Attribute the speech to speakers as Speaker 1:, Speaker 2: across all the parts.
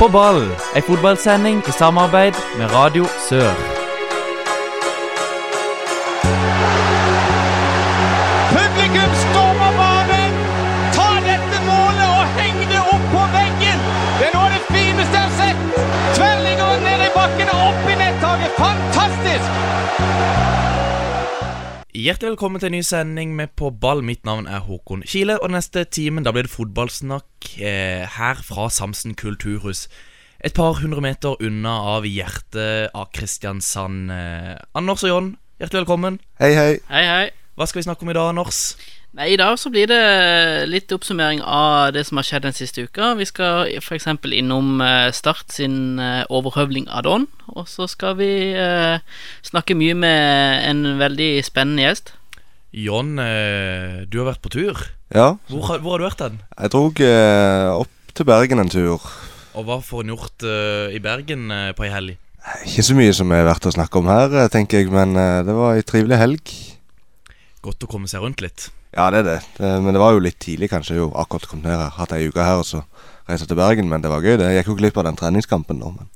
Speaker 1: På ball, ei fotballsending i samarbeid med Radio Sør.
Speaker 2: Publikum stormer banen! Ta dette målet og heng det opp på veggen! Det er noe av det fineste jeg har sett! Tverrliggeren ned i bakken og opp i nettaket! Fantastisk!
Speaker 1: Hjertelig velkommen til en ny sending med På ball. Mitt navn er Håkon Kile. Og den neste timen da blir det fotballsnakk eh, her fra Samsen kulturhus. Et par hundre meter unna av hjertet av Kristiansand. Eh, Anders og John, hjertelig velkommen.
Speaker 3: Hei, hei.
Speaker 4: Hei, hei.
Speaker 1: Hva skal vi snakke om i dag, Anders?
Speaker 4: Nei, I dag så blir det litt oppsummering av det som har skjedd den siste uka. Vi skal f.eks. innom eh, Start sin eh, overhøvling av Don. Og så skal vi eh, snakke mye med en veldig spennende gjest.
Speaker 1: John, eh, du har vært på tur.
Speaker 3: Ja,
Speaker 1: Hvor, har- hvor har du vært hen?
Speaker 3: jeg drog eh, opp til Bergen en tur.
Speaker 1: Og hva får en gjort eh, i Bergen eh, på ei helg?
Speaker 3: Ikke så mye som er verdt å snakke om her, eh, tenker jeg, men eh, det var ei trivelig helg.
Speaker 1: Godt å komme seg rundt litt.
Speaker 3: Ja, det er det. det. Men det var jo litt tidlig, kanskje. Jo, akkurat kommet ned her. Hatt ei uke her, og så reiste til Bergen. Men det var gøy, det. Jeg gikk jo glipp av den treningskampen nå, men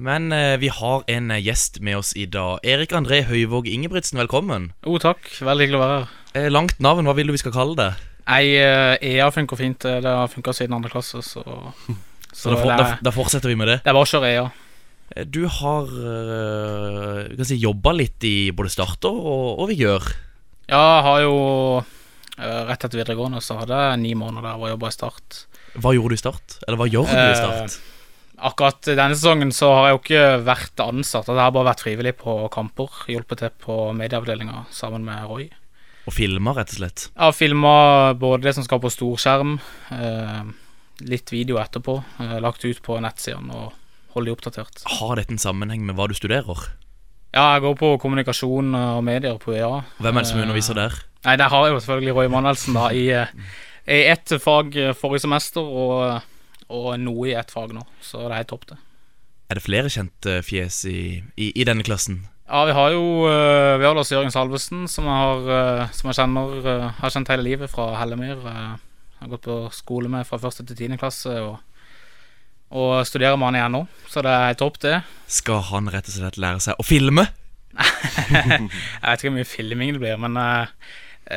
Speaker 1: Men eh, vi har en eh, gjest med oss i dag. Erik André Høyvåg Ingebrigtsen, velkommen.
Speaker 5: Jo, takk. Veldig hyggelig å være her.
Speaker 1: Eh, langt navn, hva vil du vi skal kalle det?
Speaker 5: Nei, eh, EA funker fint. eh, Det har funka siden andre klasse, så
Speaker 1: Så da, for, da, da fortsetter vi med det.
Speaker 5: det er bare å kjøre E EA.
Speaker 1: Eh, Du har eh, vi kan si, jobba litt i både starter og, og Vigør.
Speaker 5: Ja, jeg har jo eh, Rett etter videregående så hadde jeg ni måneder der hvor jeg jobba i Start.
Speaker 1: Hva gjorde du i Start? Eller hva gjør du
Speaker 5: Eh.
Speaker 1: i Start?
Speaker 5: Akkurat denne sesongen så har jeg jo ikke vært ansatt. Jeg har bare vært frivillig på kamper. Hjulpet til på medieavdelinga sammen med Roy.
Speaker 1: Og filmer, rett og slett.
Speaker 5: Jeg har filma både det som skal på storskjerm, eh, litt video etterpå. eh, Lagt ut på nettsidene og holdt de oppdatert.
Speaker 1: Har dette en sammenheng med hva du studerer?
Speaker 5: Ja, jeg går på kommunikasjon eh, og medier på EA.
Speaker 1: Hvem er det som
Speaker 5: Eh,
Speaker 1: underviser der?
Speaker 5: Nei, der har jeg jo selvfølgelig Roy Manuelsen da i, eh, i ett fag eh, forrige semester og, eh, og noe i ett fag nå, så det er helt topp, det.
Speaker 1: Er det flere kjente fjes i, i, i denne klassen?
Speaker 5: Ja, vi har jo eh, vi har Lars Jørgen Salvesen, som jeg, har, eh, som jeg kjenner, eh, har kjent hele livet fra Hellemyr. eh, Jeg har gått på skole med fra første til tiende klasse og, og studerer med han igjen nå, så det er helt topp, det.
Speaker 1: Skal han rett og slett lære seg å filme?
Speaker 5: Jeg vet ikke hvor mye filming det blir, men eh,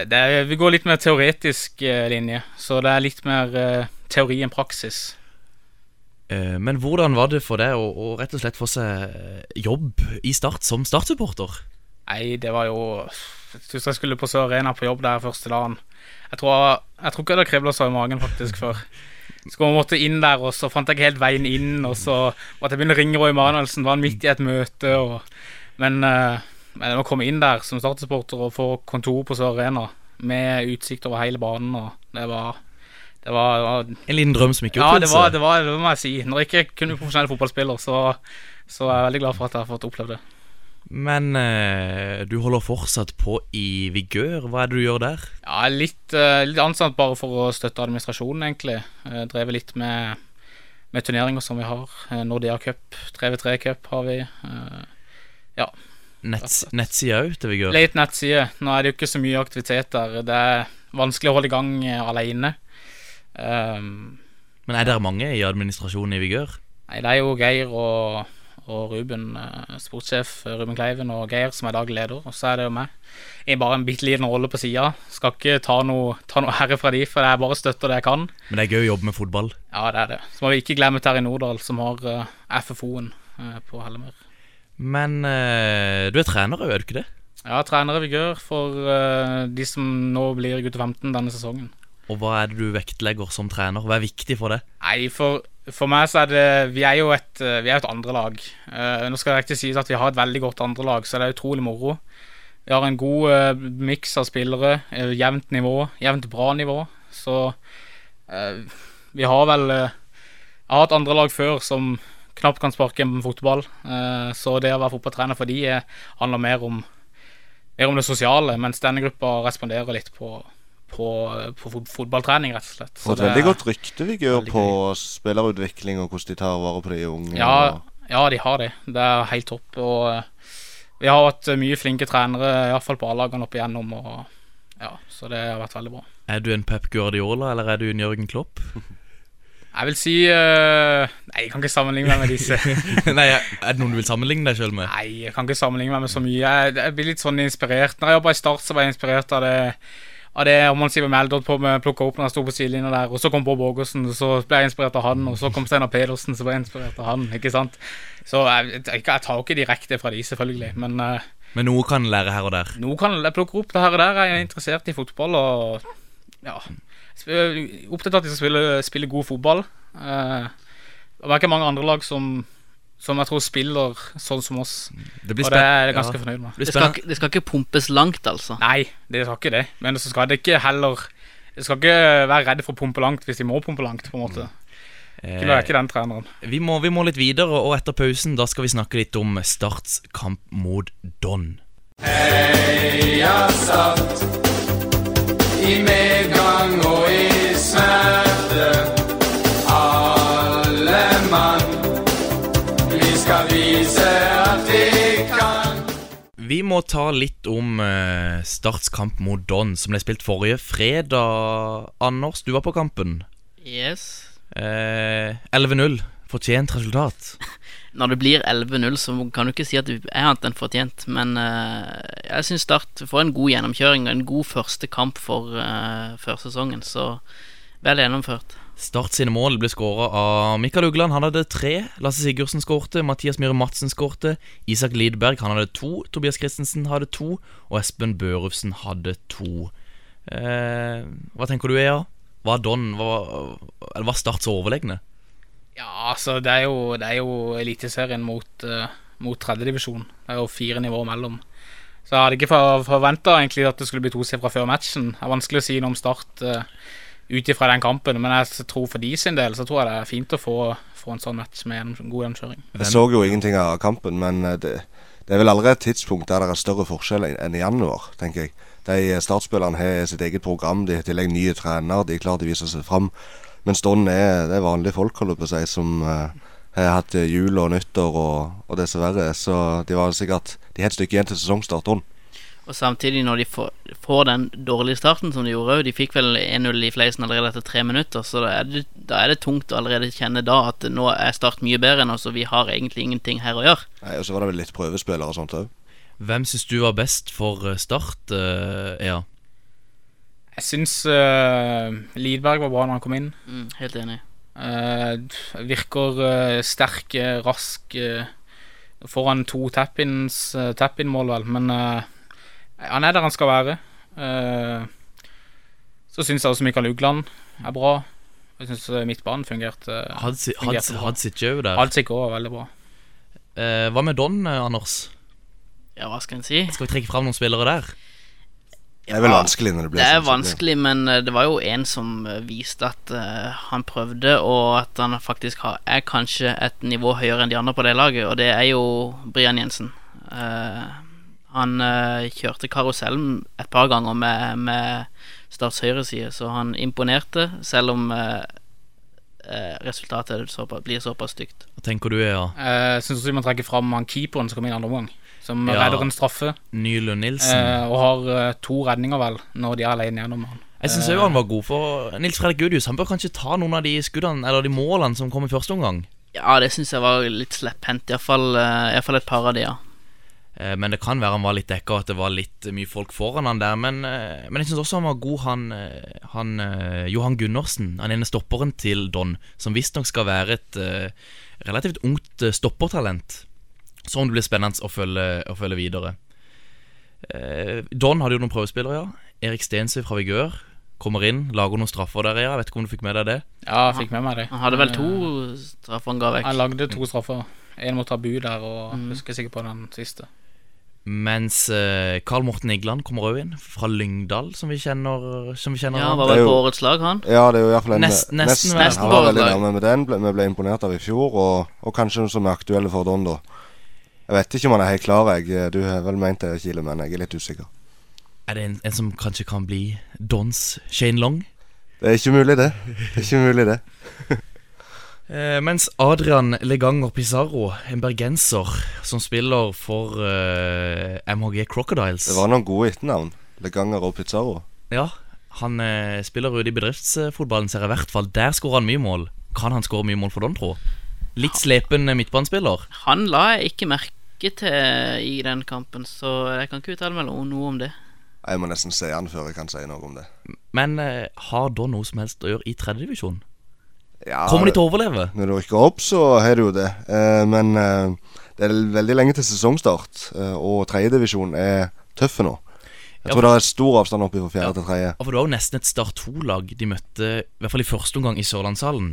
Speaker 5: det er, vi går litt mer teoretisk eh, linje. Så det er litt mer eh, teori enn praksis.
Speaker 1: Eh, Men hvordan var det for deg å, å rett og slett få seg eh, jobb i Start som Start-supporter?
Speaker 5: Nei, det var jo Jeg husker jeg skulle på Sør Arena på jobb der første dagen. Jeg tror, jeg tror ikke jeg hadde kribla så i magen faktisk før. Så kom jeg måtte inn der, og så fant jeg ikke helt veien inn. Og så måtte jeg begynne å ringe Roy Manuelsen, var han midt i et møte og Men, eh, men å komme inn der som startsupporter og få kontor på Sør Arena med utsikt over hele banen, og det var det var, det var
Speaker 1: En liten drøm som ikke
Speaker 5: Ja, det
Speaker 1: oppfyllelse?
Speaker 5: var, det var det må jeg si. Når jeg ikke kunne bli profesjonell fotballspiller, så, så er jeg veldig glad for at jeg har fått opplevd det.
Speaker 1: Men eh, du holder fortsatt på i vigør. Hva er det du gjør der?
Speaker 5: Ja, litt, eh, litt ansatt bare for å støtte administrasjonen, egentlig. Eh, drevet litt med, med turneringer som vi har. Eh, Nordea Cup, 3v3 Cup har vi. Eh,
Speaker 1: Netts, nettsida òg til vigør?
Speaker 5: litt nettside. Nå er det jo ikke så mye aktivitet der. Det er vanskelig å holde i gang eh, alene. Ehm,
Speaker 1: Men er dere mange i administrasjonen i vigør?
Speaker 5: nei, det er jo Geir og, og Ruben, eh, sportssjef Ruben Kleiven, og Geir som er daglig leder. Og så er det jo meg. Jeg er bare en bitte liten rolle på sida. Skal ikke ta noe, ta noe ære fra de, for jeg bare støtter det jeg kan.
Speaker 1: Men det er gøy å jobbe med fotball.
Speaker 5: Ja, det er det. Så må vi ikke glemme Terje Nordahl, som har eh, FFO-en eh, på Hellemyr.
Speaker 1: Men eh, du er trener òg, er du ikke det?
Speaker 5: Ja, trener i vigør for eh, de som nå blir gutter 15 denne sesongen.
Speaker 1: Og hva er det du vektlegger som trener? Hva er viktig for deg?
Speaker 5: Nei, for, for meg så er det Vi er jo et, eh, vi er et andrelag. Eh, nå skal det riktig sies at vi har et veldig godt andrelag, så det er utrolig moro. Vi har en god eh, miks av spillere. eh, jevnt nivå. Jevnt bra nivå. Så eh, vi har vel eh, Jeg har hatt andrelag før som knapt kan sparke en fotball. eh, så det å være fotballtrener for de eh, handler mer om, mer om det sosiale, mens denne gruppa responderer litt på, på, eh, på fot- fotballtrening, rett og slett. Så
Speaker 3: Fått
Speaker 5: det-
Speaker 3: veldig godt rykte vi gjør
Speaker 5: veldig
Speaker 3: på spillerutvikling og hvordan de tar vare på de unge.
Speaker 5: Ja,
Speaker 3: og-
Speaker 5: ja, de har det. Det er helt topp. Og eh, vi har hatt eh, mye flinke trenere, iallfall på A-lagene opp igjennom. Og, ja, så det har vært veldig bra.
Speaker 1: Er du en Pep Guardiola, eller er du en Jørgen Klopp?
Speaker 5: Jeg vil si eh, Nei, jeg kan ikke sammenligne meg med disse.
Speaker 1: Nei, Er det noen du vil sammenligne deg sjøl med?
Speaker 5: Nei, jeg kan ikke sammenligne meg med så mye. Jeg, jeg blir litt sånn inspirert. Når jeg jobba i Start, så var jeg inspirert av det av det Amon Siver Meldal på med plukka opp når jeg sto på sidelinja der, og så kom Bård Borgersen, og så ble jeg inspirert av han, og så kom Steinar Pedersen, så ble jeg inspirert av han, ikke sant. Så jeg, jeg, jeg tar jo ikke direkte fra de, selvfølgelig, men eh,
Speaker 1: Men noe kan en lære her og der.
Speaker 5: nå kan jeg plukke opp det her og der. Jeg er interessert i fotball og ja sp- øh, Opptatt av at de skal spille, spille god fotball. Eh, og det er ikke mange andre lag som, som jeg tror spiller sånn som oss.
Speaker 1: Det
Speaker 5: Og det er jeg
Speaker 1: spen-
Speaker 5: ganske
Speaker 1: ja.
Speaker 5: fornøyd med.
Speaker 1: Det blir
Speaker 4: Det skal,
Speaker 1: spennende.
Speaker 4: ikke- det skal ikke pumpes langt, altså.
Speaker 5: Nei, det skal ikke det. Men så skal det ikke heller Jeg skal ikke være redd for å pumpe langt hvis de må pumpe langt, på en måte.
Speaker 1: Mm.
Speaker 5: Ikke være ikke den treneren.
Speaker 1: Vi må, vi må litt videre, og etter pausen da skal vi snakke litt om Starts kamp mot Don. Vi må ta litt om eh, Starts kamp mot Don, som ble spilt forrige fredag. Anders, du var på kampen.
Speaker 4: Yes.
Speaker 1: Eh, 11-0. Fortjent resultat.
Speaker 4: Når det blir 11-0, så kan du ikke si at det er annet enn fortjent. Men eh, jeg syns Start får en god gjennomkjøring og en god første kamp for uh, førsesongen, så vel gjennomført.
Speaker 1: Start sine mål ble skåra av Mikael Ugland. Han hadde tre. Lasse Sigurdsen skårte. Mathias Myhre Madsen skårte. Isak Lidberg han hadde to. Tobias Christensen hadde to. Og Espen Børufsen hadde to. Eh, hva tenker du, Ea? Var Don var, eller var Start så overlegne?
Speaker 5: Ja, altså, det er jo, det er jo Eliteserien mot, uh, mot tredjedivisjon. Det er jo fire nivåer mellom. Så jeg hadde ikke forventa egentlig at det skulle bli tosifra før matchen. Det er vanskelig å si noe om Start uh, ut ifra den kampen, men jeg s- tror for de sin del så tror jeg det er fint å få, få en sånn match med en god gjennomkjøring.
Speaker 3: Jeg så jo ingenting av kampen, men eh, det, det er vel allerede et tidspunkt der det er større forskjell en- enn i januar, tenker jeg. De eh, startspillerne har sitt eget program, de har i tillegg nye trenere, de er klare til å vise seg fram. Mens Don er det er vanlige folk, holder jeg på å si, som eh, har hatt eh, jul og nyttår og, og dessverre. Så de var sikkert De har et stykke igjen til sesongstart, Don.
Speaker 4: Og samtidig, når de får, får den dårlige starten som de gjorde òg De fikk vel 1-0 i fleisen allerede etter tre minutter, så da er, det, da er det tungt å allerede kjenne da at nå er Start mye bedre enn oss, og vi har egentlig ingenting her å gjøre.
Speaker 3: Nei, Og så var det vel litt prøvespillere og sånt òg.
Speaker 1: Hvem syns du var best for eh, Start, eh, Ea?
Speaker 5: Jeg syns eh, Lidberg var bra når han kom inn.
Speaker 4: Mm, helt enig.
Speaker 5: Eh, virker eh, sterk, eh, rask eh, foran to tap-ins, eh, tap-in-mål, vel. Men eh, han er der han skal være. Eh, så syns jeg også Mikael Ugland er bra. Jeg syns midtbanen fungerte.
Speaker 1: Hadde si-
Speaker 5: Fungerte
Speaker 1: hadde-
Speaker 5: bra.
Speaker 1: hadde sitt jau der.
Speaker 5: Alt sikkert var veldig bra.
Speaker 1: Eh, hva med Don, eh, Anders?
Speaker 4: Ja, hva skal en si?
Speaker 1: Skal vi trekke fram noen spillere der?
Speaker 3: Det er vel vanskelig når det blir
Speaker 4: Det er
Speaker 3: sånn som det blir.
Speaker 4: vanskelig, men eh, det var jo en som eh, viste at eh, han prøvde, og at han faktisk har, er kanskje et nivå høyere enn de andre på det laget, og det er jo Brian Jensen. Eh, han eh, kjørte karusellen et par ganger med, med Starts høyre side, så han imponerte, selv om eh, eh, resultatet såpa- blir såpass stygt.
Speaker 1: Hva tenker du, E Ea?
Speaker 5: Eh, Jeg syns også vi må trekke fram han keeperen som kom inn andre omgang. Som
Speaker 1: Ja.
Speaker 5: redder en straffe.
Speaker 1: Nylund Nilsen?
Speaker 5: eh, og har eh, to redninger, vel, når de er alene gjennom han.
Speaker 1: Jeg syns òg han var god, for Nils Fredrik Gudius Han bør kanskje ta noen av de skuddene Eller de målene som kom i første omgang.
Speaker 4: Ja, det syns jeg var litt slepphendt, iallfall et par av de, ja.
Speaker 1: Eh, Men det kan være han var litt dekka, og at det var litt eh, mye folk foran han der. Men, eh, men jeg syns også han var god, han, eh, han eh, Johan Gundersen. Han ene stopperen til Don, som visstnok skal være et eh, relativt ungt eh, stoppertalent. Som det blir spennende å følge, å følge videre. Eh, Don hadde jo noen prøvespillere, ja. Erik Stensøy fra Vigør kommer inn, lager noen straffer der, ja. Vet ikke om du fikk med deg det?
Speaker 5: Ja, jeg fikk med meg det.
Speaker 4: Han hadde vel to straffer han ga vekk.
Speaker 5: Han lagde to straffer. En mot Tabu der, og jeg husker sikkert på den siste.
Speaker 1: Mens eh, Karl Morten Igland kommer òg inn, fra Lyngdal, som vi kjenner. Som vi kjenner
Speaker 4: Ja,
Speaker 1: han.
Speaker 4: han var
Speaker 3: Det er
Speaker 4: vel
Speaker 3: jo-
Speaker 4: på årets lag, han.
Speaker 3: Ja, det er jo i hvert fall en
Speaker 1: Nest- nesten
Speaker 4: vel.
Speaker 3: han var veldig
Speaker 4: Nesten
Speaker 3: nærme med den. Ble, vi ble imponert av i fjor, og, og kanskje noe som er aktuelle for Don, da. Jeg vet ikke om han er helt klar, jeg. Du har vel ment det, Kile, men jeg er litt usikker.
Speaker 1: Er det en, en som kanskje kan bli Dons Shane Long?
Speaker 3: Det er ikke mulig, det. Det er ikke mulig, det.
Speaker 1: Eh, mens Adrian Leganger Pizarro, en bergenser som spiller for eh, MHG Crocodiles
Speaker 3: Det var noen gode etternavn. Leganger og Pizarro.
Speaker 1: Ja, Han eh, spiller ute i bedriftsfotballen, ser jeg i hvert fall. Der skårer han mye mål. Kan han skåre mye mål for Dontro? Litt slepen midtbanespiller.
Speaker 4: Han la jeg ikke merke til i den kampen, så jeg kan ikke uttale meg noe om det.
Speaker 3: Jeg må nesten se han før jeg kan si noe om det.
Speaker 1: Men eh, har Don noe som helst å gjøre i tredjedivisjon?
Speaker 3: Ja,
Speaker 1: Kommer de til å overleve?
Speaker 3: Når du rykker opp, så har du jo det. Eh, men eh, det er veldig lenge til sesongstart, eh, og tredjedivisjon er tøffe nå. Jeg
Speaker 1: Ja,
Speaker 3: tror det er stor avstand opp fra fjerde
Speaker 1: Ja.
Speaker 3: til tredje.
Speaker 1: Ja, For det var jo nesten et Start 2-lag de møtte, i hvert fall i første omgang, i Sørlandshallen.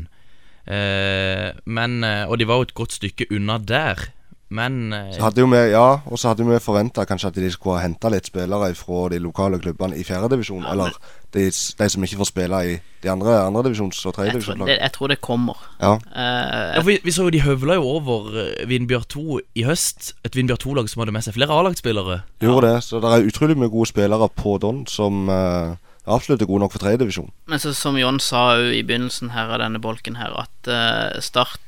Speaker 1: Eh, men, eh, og de var jo et godt stykke unna der. Men eh,
Speaker 3: Så hadde jo vi, ja, og så hadde vi forventa kanskje at de skulle ha henta litt spillere fra de lokale klubbene i fjerdedivisjon,
Speaker 4: Ja,
Speaker 3: eller de, s- de som ikke får spille i de andre andredivisjons- og
Speaker 4: Jeg tror
Speaker 3: tredjedivisjonslag.
Speaker 4: det, jeg tror det kommer.
Speaker 3: Ja.
Speaker 4: Eh,
Speaker 1: ja, for vi, vi så jo de høvla jo over eh, Vindbjørn 2 i høst. Et Vindbjørn 2-lag som hadde med seg flere A-lagsspillere.
Speaker 3: Gjorde det. Så det er utrolig mye gode spillere på Don som eh, absolutt er gode nok for tredjedivisjon.
Speaker 4: Men så, som John sa jo i begynnelsen her av denne bolken her, at eh, Start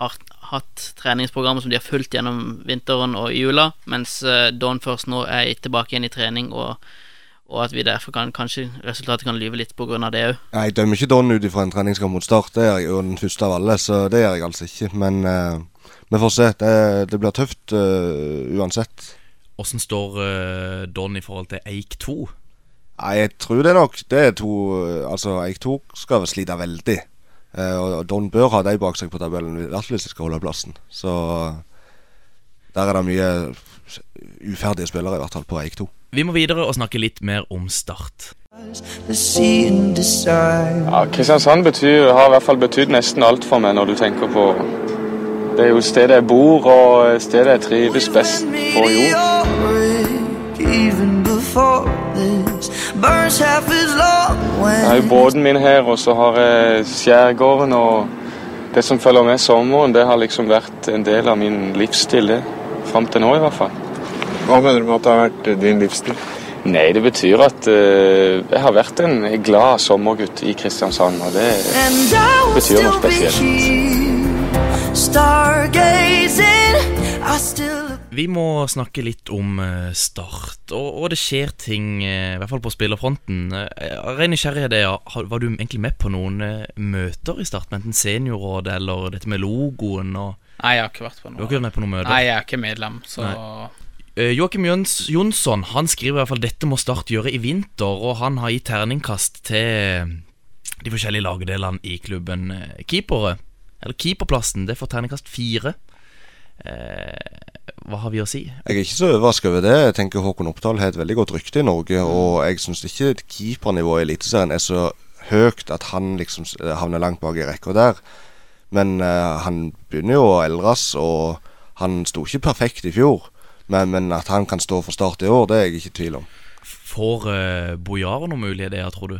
Speaker 4: har hatt treningsprogrammer som de har fulgt gjennom vinteren og i jula, mens eh, Don først nå er tilbake igjen i trening, og, og at vi derfor kan kanskje resultatet kan lyve litt på grunn av det òg.
Speaker 3: Jeg dømmer ikke Don ut ifra en treningskamp mot Start. Det er jeg jo den første av alle, så det gjør jeg altså ikke. Men eh, vi får se. Det, det blir tøft eh, uansett.
Speaker 1: Åssen står eh, Don i forhold til Eik 2?
Speaker 3: Nei, jeg tror det nok. Det er to Altså, Eik 2 skal vel slite veldig. Eh, og og Don bør ha de bak seg på tabellen, i hvert fall hvis de skal holde plassen. Så der er det mye uferdige spillere, i hvert fall på Eik 2.
Speaker 1: Vi må videre og snakke litt mer om Start.
Speaker 6: the sea and decide.
Speaker 7: Ja, Kristiansand betyr, har i hvert fall betydd nesten alt for meg når du tenker på Det er jo stedet jeg bor, og stedet jeg trives best på jord.
Speaker 6: Meteoric, Even before this burns half as long when
Speaker 7: Jeg har jo båten min her, og så har jeg skjærgården og Det som følger med sommeren, det har liksom vært en del av min livsstil, det. Fram til nå, i hvert fall.
Speaker 8: Hva mener du med at det har vært eh, din livsstil?
Speaker 7: Nei, det betyr at eh, jeg har vært en glad sommergutt i Kristiansand, og det
Speaker 6: and I will
Speaker 7: Betyr noe
Speaker 6: still be
Speaker 7: spesielt.
Speaker 6: here stargazing I still look
Speaker 1: Vi må snakke litt om eh, Start, og, og det skjer ting, eh, i hvert fall på spillerfronten. Eh, Av ren nysgjerrighet er ja, har- var du egentlig med på noen eh, møter i Start, med enten seniorrådet eller dette med logoen og
Speaker 5: Nei, jeg har ikke vært på
Speaker 1: Du har
Speaker 5: noe.
Speaker 1: ikke vært med på noen møter?
Speaker 5: Nei, jeg er ikke medlem, så
Speaker 1: Eh, Joakim Jøns, Jonsson han skriver i hvert fall dette må Start gjøre i vinter, og han har gitt terningkast til eh, de forskjellige lagdelene i klubben. Eh, Keepere, eller keeperplassen, det får terningkast fire. Eh, hva har vi å si?
Speaker 3: Jeg er ikke så overraska over det. Jeg tenker Håkon Oppdal har et veldig godt rykte i Norge,
Speaker 4: Mm.
Speaker 3: og jeg syns ikke et keepernivå i Eliteserien er så høyt at han liksom s- havner langt bak i rekka der. Men eh, han begynner jo å eldres, og han sto ikke perfekt i fjor. Men, men at han kan stå for start i år, det er jeg ikke i tvil om.
Speaker 1: Får eh, Bojar noen mulighet der, tror du?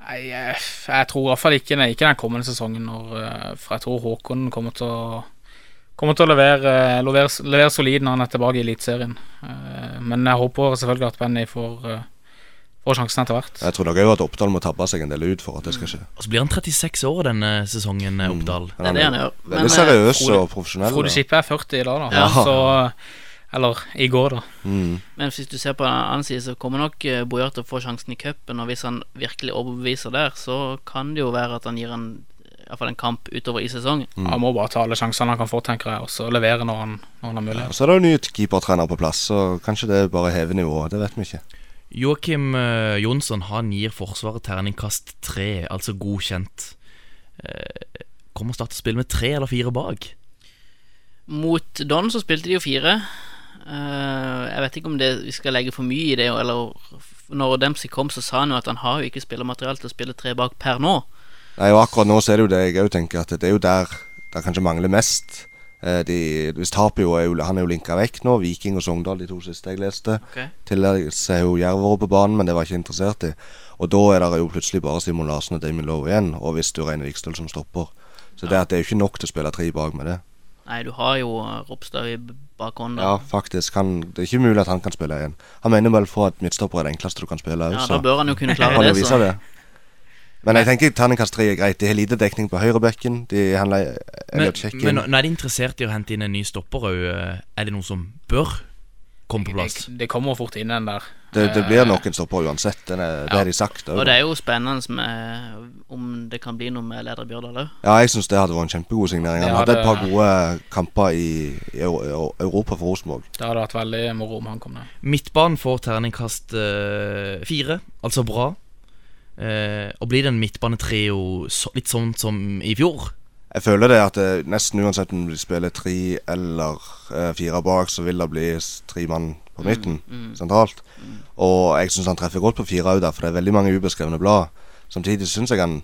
Speaker 5: Nei, jeg, jeg tror i hvert fall ikke, nei, ikke den kommende sesongen, når, eh, for jeg tror Håkon kommer til å Kommer til å levere, eh, levere, levere solid når han er tilbake i Eliteserien. Eh, Men jeg håper selvfølgelig at Benny får, eh, får sjansen etter hvert.
Speaker 3: Jeg tror nok òg at Oppdal må tabbe seg en del ut for at det skal skje.
Speaker 1: Og så blir han 36 år denne sesongen, eh, Oppdal.
Speaker 4: Mm. Det er det han gjør. Men,
Speaker 3: Veldig
Speaker 4: eh,
Speaker 3: seriøs
Speaker 5: Frode-
Speaker 3: og profesjonell.
Speaker 5: Frode
Speaker 3: da.
Speaker 5: Skippe er 40 i dag, da.
Speaker 3: Ja.
Speaker 5: Så, eller i går, da.
Speaker 3: Mm.
Speaker 4: men hvis du ser på den annen side, så kommer nok eh, Bojar til å få sjansen i cupen, og hvis han virkelig overbeviser der, så kan det jo være at han gir en Iallfall en kamp utover i sesongen.
Speaker 1: Mm.
Speaker 5: Han må bare ta alle sjansene han kan få, tenker jeg, og så levere når han, når han har mulighet.
Speaker 3: Så er det jo ny keepertrener på plass, så kanskje det bare hever nivået. Det vet vi ikke.
Speaker 1: Joakim eh, Jonsson han gir Forsvaret terningkast tre, altså godkjent. Eh, kommer Start til å spille med tre eller fire bak?
Speaker 4: Mot Don så spilte de jo fire. Eh, jeg vet ikke om det, vi skal legge for mye i det. Eller når Dempsey kom, så sa han jo at han har jo ikke spillermateriale til å spille tre bak per nå.
Speaker 3: Nei, og akkurat nå så er det jo det jeg òg tenker, at det er jo der det kanskje mangler mest. Eh, de, hvis Tapio er jo, han er jo linka vekk nå, Viking og Sogndal, de to siste jeg leste.
Speaker 4: Ok.
Speaker 3: Tidligere så har jo Jerv vært på banen, men det var jeg ikke interessert i. Og da er det jo plutselig bare Simon Larsen og Damien Lowe igjen, og hvis du regner Vikstøl som stopper. Så det, at det er jo ikke nok til å spille tre bak med det.
Speaker 4: Nei, du har jo eh, Ropstad i bakhånd.
Speaker 3: Ja,
Speaker 4: da.
Speaker 3: faktisk. Han, det er ikke mulig at han kan spille igjen. Han mener vel for at midtstopper er det enkleste du kan spille òg,
Speaker 4: ja,
Speaker 3: så
Speaker 4: da bør han jo kunne klare
Speaker 3: kan jo
Speaker 4: det.
Speaker 3: vise
Speaker 4: Så.
Speaker 3: det. Men jeg tenker terningkast tre er greit. De har lite dekning på høyrebekken. De handler
Speaker 1: Men,
Speaker 3: Elliot Check
Speaker 1: eh, men nå er de interessert i å hente inn en ny stopper òg. Er det noen som bør? komme på plass.
Speaker 5: Det, det kommer fort inn den der.
Speaker 3: Det, det blir nok en stopper uansett. Den er, Det har de sagt.
Speaker 4: eh, Og
Speaker 3: også.
Speaker 4: det er jo spennende med om det kan bli noe med leder Bjørdal òg.
Speaker 3: Ja, jeg syns det hadde vært en kjempegod signering. Han
Speaker 5: Ja,
Speaker 3: hadde et par
Speaker 5: det-
Speaker 3: gode kamper i, i Eu- Eu- Europa for Rosenborg.
Speaker 5: Det hadde vært veldig moro om han kom ned.
Speaker 1: Midtbanen får terningkast eh, fire, altså bra. Eh, og blir det en midtbanetrio så, litt sånn som i fjor?
Speaker 3: Jeg føler det at eh, nesten uansett om de spiller tre eller eh, fire bak, så vil det bli s- tre mann på midten sentralt. Og jeg syns han treffer godt på fire òg, der, for det er veldig mange ubeskrevne blad. Samtidig syns jeg han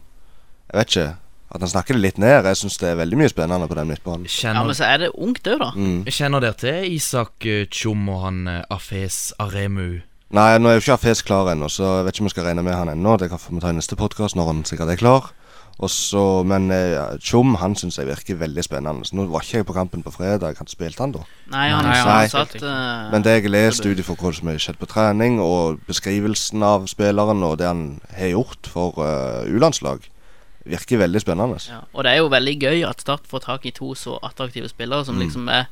Speaker 3: Jeg vet ikke. At han snakker det litt ned. Jeg syns det er veldig mye spennende på den midtbanen. Mm.
Speaker 4: Ja,
Speaker 1: Kjenner,
Speaker 4: men så er det ungt òg, da.
Speaker 1: kjenner dere til Isak eh, Tjom og han eh, Afes Aremu?
Speaker 3: Nei, nå er jo ikke Afes klar ennå, så jeg vet ikke om vi skal regne med han ennå. Det kan vi ta i neste podkast når han sikkert er klar. Og så, men eh, Tjom han syns jeg virker veldig spennende. Så nå var ikke jeg på kampen på fredag, han spilte han da.
Speaker 4: Nei, han,
Speaker 5: Nei,
Speaker 4: han,
Speaker 5: han-
Speaker 4: satt
Speaker 5: Nei.
Speaker 4: eh,
Speaker 3: Men det jeg har lest ut ifra hva som har skjedd på trening, og beskrivelsen av spilleren og det han har gjort for eh, U-landslag, virker veldig spennende.
Speaker 4: ja. Og det er jo veldig gøy at Start får tak i to så attraktive spillere som liksom er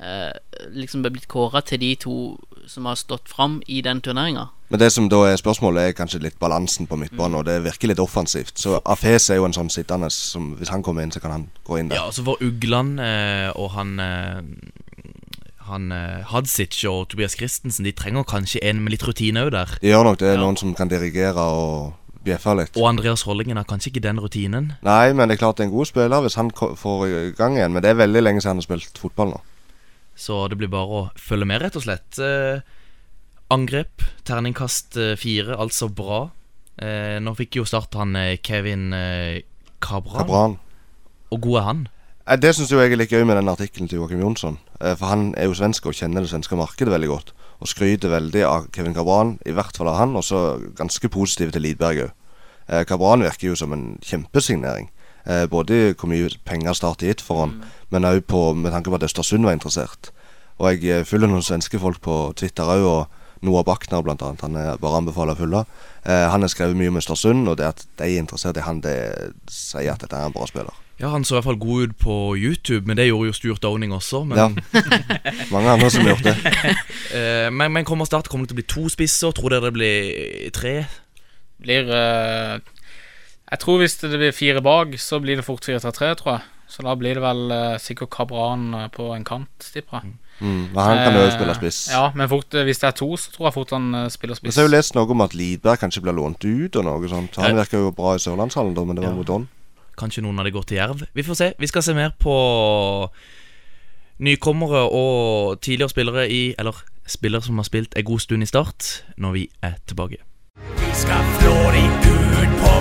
Speaker 4: eh, Liksom er blitt kåra til de to som har stått fram i den turneringa.
Speaker 3: Men det som da er spørsmålet, er kanskje litt balansen på midtbanen, og det virker litt offensivt. Så Afes er jo en sånn sittende som hvis han kommer inn, så kan han gå inn der.
Speaker 1: Ja, altså for Ugland eh, og han eh, Han eh, Hadzic og Tobias Christensen De trenger kanskje en med litt rutine òg der.
Speaker 3: De gjør nok det, noen som kan dirigere og bjeffe litt.
Speaker 1: Og Andreas Hollingen har kanskje ikke den rutinen.
Speaker 3: Nei, men det er klart det er en god spiller hvis han ko- får i gang igjen. Men det er veldig lenge siden han har spilt fotball nå.
Speaker 1: Så det blir bare å følge med, rett og slett. Eh, angrep, terningkast eh, fire, altså bra. Eh, nå fikk jo Start han eh, Kevin eh, Cabran,
Speaker 3: Kabran.
Speaker 1: og god er han.
Speaker 3: Eh, Det syns jeg er litt gøy med den artikkelen til Joakim Jonsson. Eh, For han er jo svensk og kjenner det svenske markedet veldig godt. Og skryter veldig av Kevin Kabran, i hvert fall av han, og så ganske positiv til Lidberg òg. Kabran virker jo som en kjempesignering. Eh, Både i hvor mye penger Start har gitt for han, men òg med tanke på at Østersund var interessert. Og jeg eh, følger noen svenske folk på Twitter òg, og Noah Bachner blant annet. Han er bare anbefaler å følge. Eh, Han har skrevet mye om Østersund, og det at de er interessert i han, det sier at dette er en bra spiller.
Speaker 1: Ja, Han så i hvert fall god ut på YouTube, men det gjorde jo Stuart Downing også. Men,
Speaker 3: Ja. Mange andre som har gjort det.
Speaker 1: eh, men, men kommer Start kommer det til å bli to spisser? Tror dere det blir tre?
Speaker 5: Blir eh, Jeg tror hvis det blir fire bak, så blir det fort 4-3-3, tror jeg. Så da blir det vel eh, sikkert Kabran eh, på en kant, tipper jeg.
Speaker 3: Mm, men han kan jo
Speaker 5: Eh,
Speaker 3: spille spiss.
Speaker 5: Ja, men fort, eh, hvis det er to, så tror jeg fort han eh, spiller
Speaker 3: Men
Speaker 5: spiss.
Speaker 3: så har jeg jo lest noe om at Lidberg kanskje blir lånt ut og noe sånt. Han virker jo bra i Sørlandshallen, da, men det var mot Don.
Speaker 1: Kanskje noen av de går til Jerv. Vi får se. Vi skal se mer på nykommere og tidligere spillere i Eller spillere som har spilt en god stund i Start, når vi er tilbake.
Speaker 9: Vi ska flå dig ut på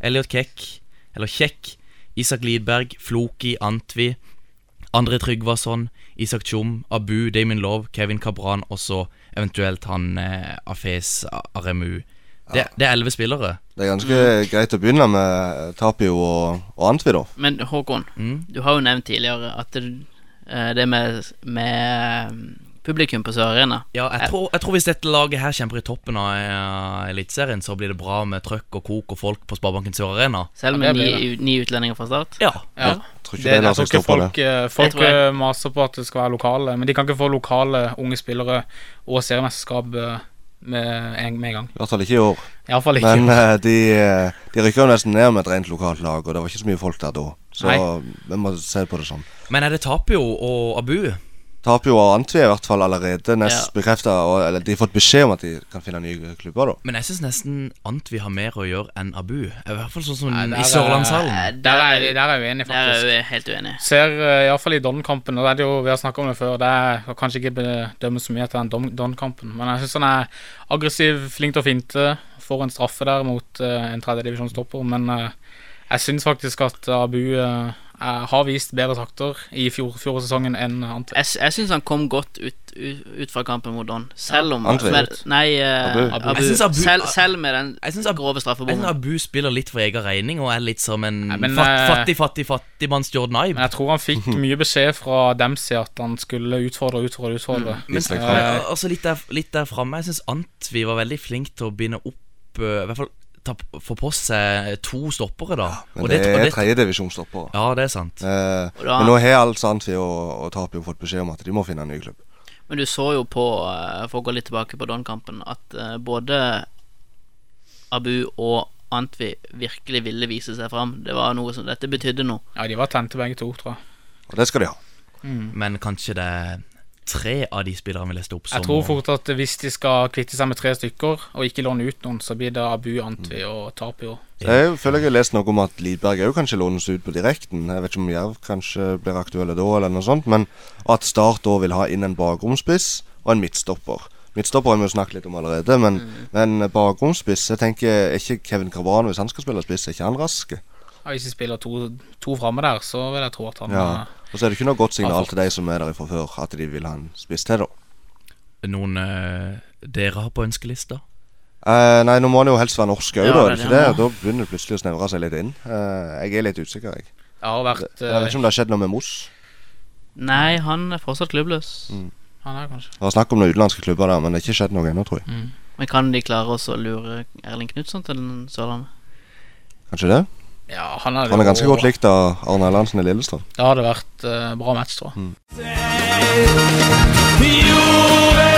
Speaker 1: Elliot Kekk, eller Kjekk, Isak Lidberg, Floki, Antvi, André Tryggvason, Isak Tjom, Abu, Damien Love, Kevin Kabran og så eventuelt han eh, Afes Aremu. Det, det er elleve spillere.
Speaker 3: Det er ganske greit å begynne med eh, Tapio og, og Antvi, da.
Speaker 4: Men Håkon, du har jo nevnt tidligere at det, eh, det med, med eh, publikum på Sør Arena
Speaker 1: Ja, jeg tror, jeg tror hvis dette laget her kjemper i toppen av eh, Eliteserien, så blir det bra med trøkk og kok og folk på Sparebanken Sør Arena.
Speaker 4: Selv
Speaker 5: Ja,
Speaker 4: med
Speaker 5: det blir
Speaker 4: ni, ni utlendinger fra start? Eh,
Speaker 1: Ja.
Speaker 5: Ja.
Speaker 3: Tror
Speaker 5: Det,
Speaker 3: ikke det,
Speaker 5: jeg
Speaker 3: lar
Speaker 5: tror
Speaker 3: seg
Speaker 5: ikke
Speaker 3: stå på det.
Speaker 5: folk, eh, folk
Speaker 4: tror jeg.
Speaker 5: eh, maser på at det skal være lokale, men de kan ikke få lokale unge spillere og seriemesterskap eh, med, en- med en gang.
Speaker 3: I hvert fall ikke i år.
Speaker 5: Iallfall ikke.
Speaker 3: Men eh, de, eh, de rykker jo nesten ned med et rent lokalt lag, og det var ikke så mye folk der da. Så vi må se på det sånn.
Speaker 1: Men er det Tapio og Abu?
Speaker 3: Tapio og Antvi er i hvert fall allerede nest
Speaker 4: Ja.
Speaker 3: bekreftet, og eller de har fått beskjed om at de kan finne nye klubber, da.
Speaker 1: Men jeg syns nesten Antvi har mer å gjøre enn Abu. I hvert fall sånn som
Speaker 5: der
Speaker 1: i
Speaker 5: er-
Speaker 1: Sørlandshallen.
Speaker 4: Eh,
Speaker 5: Der er, der er jeg uenig,
Speaker 4: Der er jeg
Speaker 5: faktisk.
Speaker 4: jo helt uenig.
Speaker 5: Ser eh, i hvert fall i Don-kampen, og det er det jo, vi har snakket om det før, det er kanskje ikke bedømmes så mye etter den Don- Don-kampen, men jeg synes han er aggressiv, flink til å finte, får en straffe der mot eh, en tredjedivisjonstopper, men eh, jeg synes faktisk at Abu eh, er- har vist bedre takter i fjor, fjorårssesongen enn Antwerp.
Speaker 4: Jeg, sy- jeg syns han kom godt ut ut, ut, ut fra kampen mot Don. Selv om
Speaker 3: Han trer
Speaker 4: med,
Speaker 3: ut.
Speaker 4: Nei, eh,
Speaker 3: Abu.
Speaker 4: Abu.
Speaker 1: Jeg synes Abu-
Speaker 4: selv, selv med den
Speaker 1: Jeg synes Abu-
Speaker 4: grove
Speaker 1: Jeg synes
Speaker 4: straffebommen.
Speaker 1: Abu spiller litt for egen regning og er litt som en
Speaker 5: Nei, men,
Speaker 1: fat,
Speaker 5: eh,
Speaker 1: fattig, fattig, fattigmanns Jordan
Speaker 5: Men
Speaker 1: Ibe.
Speaker 5: jeg tror han fikk mye beskjed fra Dempsey at han skulle utfordre, utfordre, utfordre.
Speaker 1: Men
Speaker 3: Visstnok
Speaker 1: eh,
Speaker 3: han-
Speaker 1: altså litt der, litt der framme Jeg syns Antvi var veldig flink til å binde opp eh, I hvert fall ta, p- få på seg to stoppere, da.
Speaker 3: Men det, er
Speaker 1: og det,
Speaker 3: tredjedivisjonsstoppere.
Speaker 1: ja, det er sant.
Speaker 3: Eh,
Speaker 4: da-
Speaker 3: men nå har alt Sandfi og, og Tapio fått beskjed om at de må finne en ny klubb.
Speaker 4: Men du så jo på, eh, for å gå litt tilbake på Don-kampen, at eh, både Abu og Antvi virkelig ville vise seg fram. Det var noe som Dette betydde noe.
Speaker 5: Ja, de var tente begge to, tror jeg.
Speaker 3: Og det skal de ha.
Speaker 1: Men kanskje det er tre av de spillerne vi leste opp, som
Speaker 5: Jeg tror
Speaker 1: må-
Speaker 5: fort at hvis de skal kvitte seg med tre stykker, og ikke låne ut noen, så blir det Abu, Antvi og Tapio.
Speaker 3: Jeg føler jeg har lest noe om at Lidberg òg kanskje lånes ut på direkten. Jeg vet ikke om Jerv kanskje blir aktuelle da, eller noe sånt. Men at Start da vil ha inn en bakromspiss og en midtstopper. Midtstopper har vi jo snakket litt om allerede, men, men bakromspiss Jeg tenker er ikke Kevin Carvano, hvis han skal spille spiss, er ikke han rask?
Speaker 5: Ja, hvis de spiller to, to framme der, så vil jeg tro at han
Speaker 3: Ja.
Speaker 5: eh,
Speaker 3: Og så er det ikke noe godt
Speaker 5: Ja,
Speaker 3: signal
Speaker 5: for-
Speaker 3: til de som er der fra før, at de vil ha en spiss til, da.
Speaker 1: noen eh, dere har på ønskelista.
Speaker 3: Eh, nei, nå må han jo helst være norsk òg,
Speaker 4: Ja,
Speaker 3: da. Er
Speaker 4: det
Speaker 3: det
Speaker 4: er
Speaker 3: ikke det?
Speaker 4: det han
Speaker 3: Da begynner det plutselig å snevre seg litt inn. Eh, jeg er litt usikker, jeg.
Speaker 5: Jeg har vært
Speaker 3: Jeg vet
Speaker 5: eh,
Speaker 3: ikke om det har skjedd noe med Moss.
Speaker 4: Nei, han er fortsatt klubbløs.
Speaker 5: Han er kanskje
Speaker 3: Det var snakk om noen utenlandske klubber der, men det har ikke skjedd noe ennå, tror
Speaker 5: Mm.
Speaker 3: jeg.
Speaker 4: Men kan de klare også å lure Erling Knutson til den Sørlandet?
Speaker 3: Kanskje det?
Speaker 5: Ja, han er,
Speaker 3: Han er ganske
Speaker 5: jo-
Speaker 3: godt likt av Arne Erlandsen i Lillestrøm.
Speaker 5: Det hadde vært eh, bra match, tror
Speaker 3: Mm.
Speaker 5: jeg.
Speaker 9: Piove,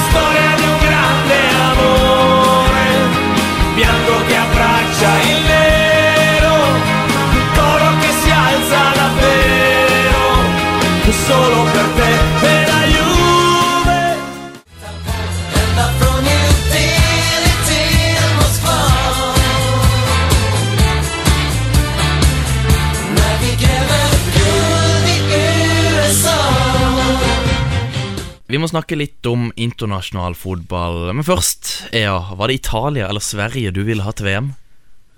Speaker 9: storia di un grande amore, bianco che abbraccia il nero, un toro che si alza davvero, solo per te e la Juve.
Speaker 1: Vi må snakke litt om internasjonal fotball. Men først, Ea, var det Italia eller Sverige du ville ha til VM?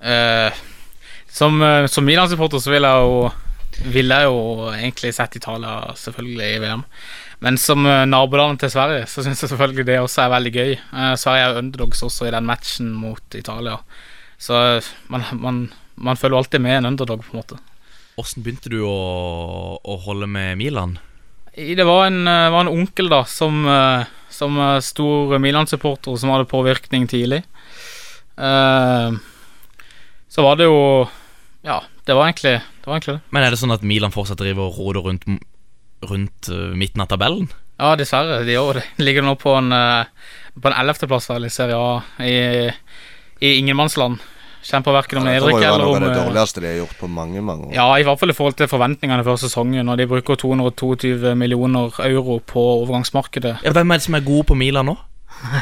Speaker 5: Eh, som eh, som Milan-supporter så ville jeg jo Ville jeg jo egentlig sett Italia selvfølgelig i VM. Men som eh, nabolandet til Sverige, så syns jeg selvfølgelig det også er veldig gøy. Eh, Sverige er jo underdogs også i den matchen mot Italia. Så eh, man, man, man føler jo alltid med en underdog, på en måte.
Speaker 1: Åssen begynte du å, å holde med Milan?
Speaker 5: I- Det var en, eh, var en onkel da som, eh, som eh, stor Milan-supporter og som hadde påvirkning tidlig. Eh, Så var det jo Ja, det var egentlig det. Var egentlig det.
Speaker 1: Men er det sånn at Milan fortsatt driver og roder rundt, m- rundt eh, midten av tabellen?
Speaker 5: Ja, dessverre. De gjør jo det. Ligger nå på en eh, På en 11.-plass vel i Serie A i, i ingenmannsland. Kjemper verken om
Speaker 3: det må
Speaker 5: nedrykk
Speaker 3: jo være
Speaker 5: eller
Speaker 3: noe av
Speaker 5: om
Speaker 3: det
Speaker 5: eh,
Speaker 3: dårligste de har gjort på mange, mange år.
Speaker 5: Ja, i hvert fall i forhold til forventningene før sesongen, og de bruker 222 millioner euro på overgangsmarkedet.
Speaker 1: Ja, hvem er det som er gode på Milan nå?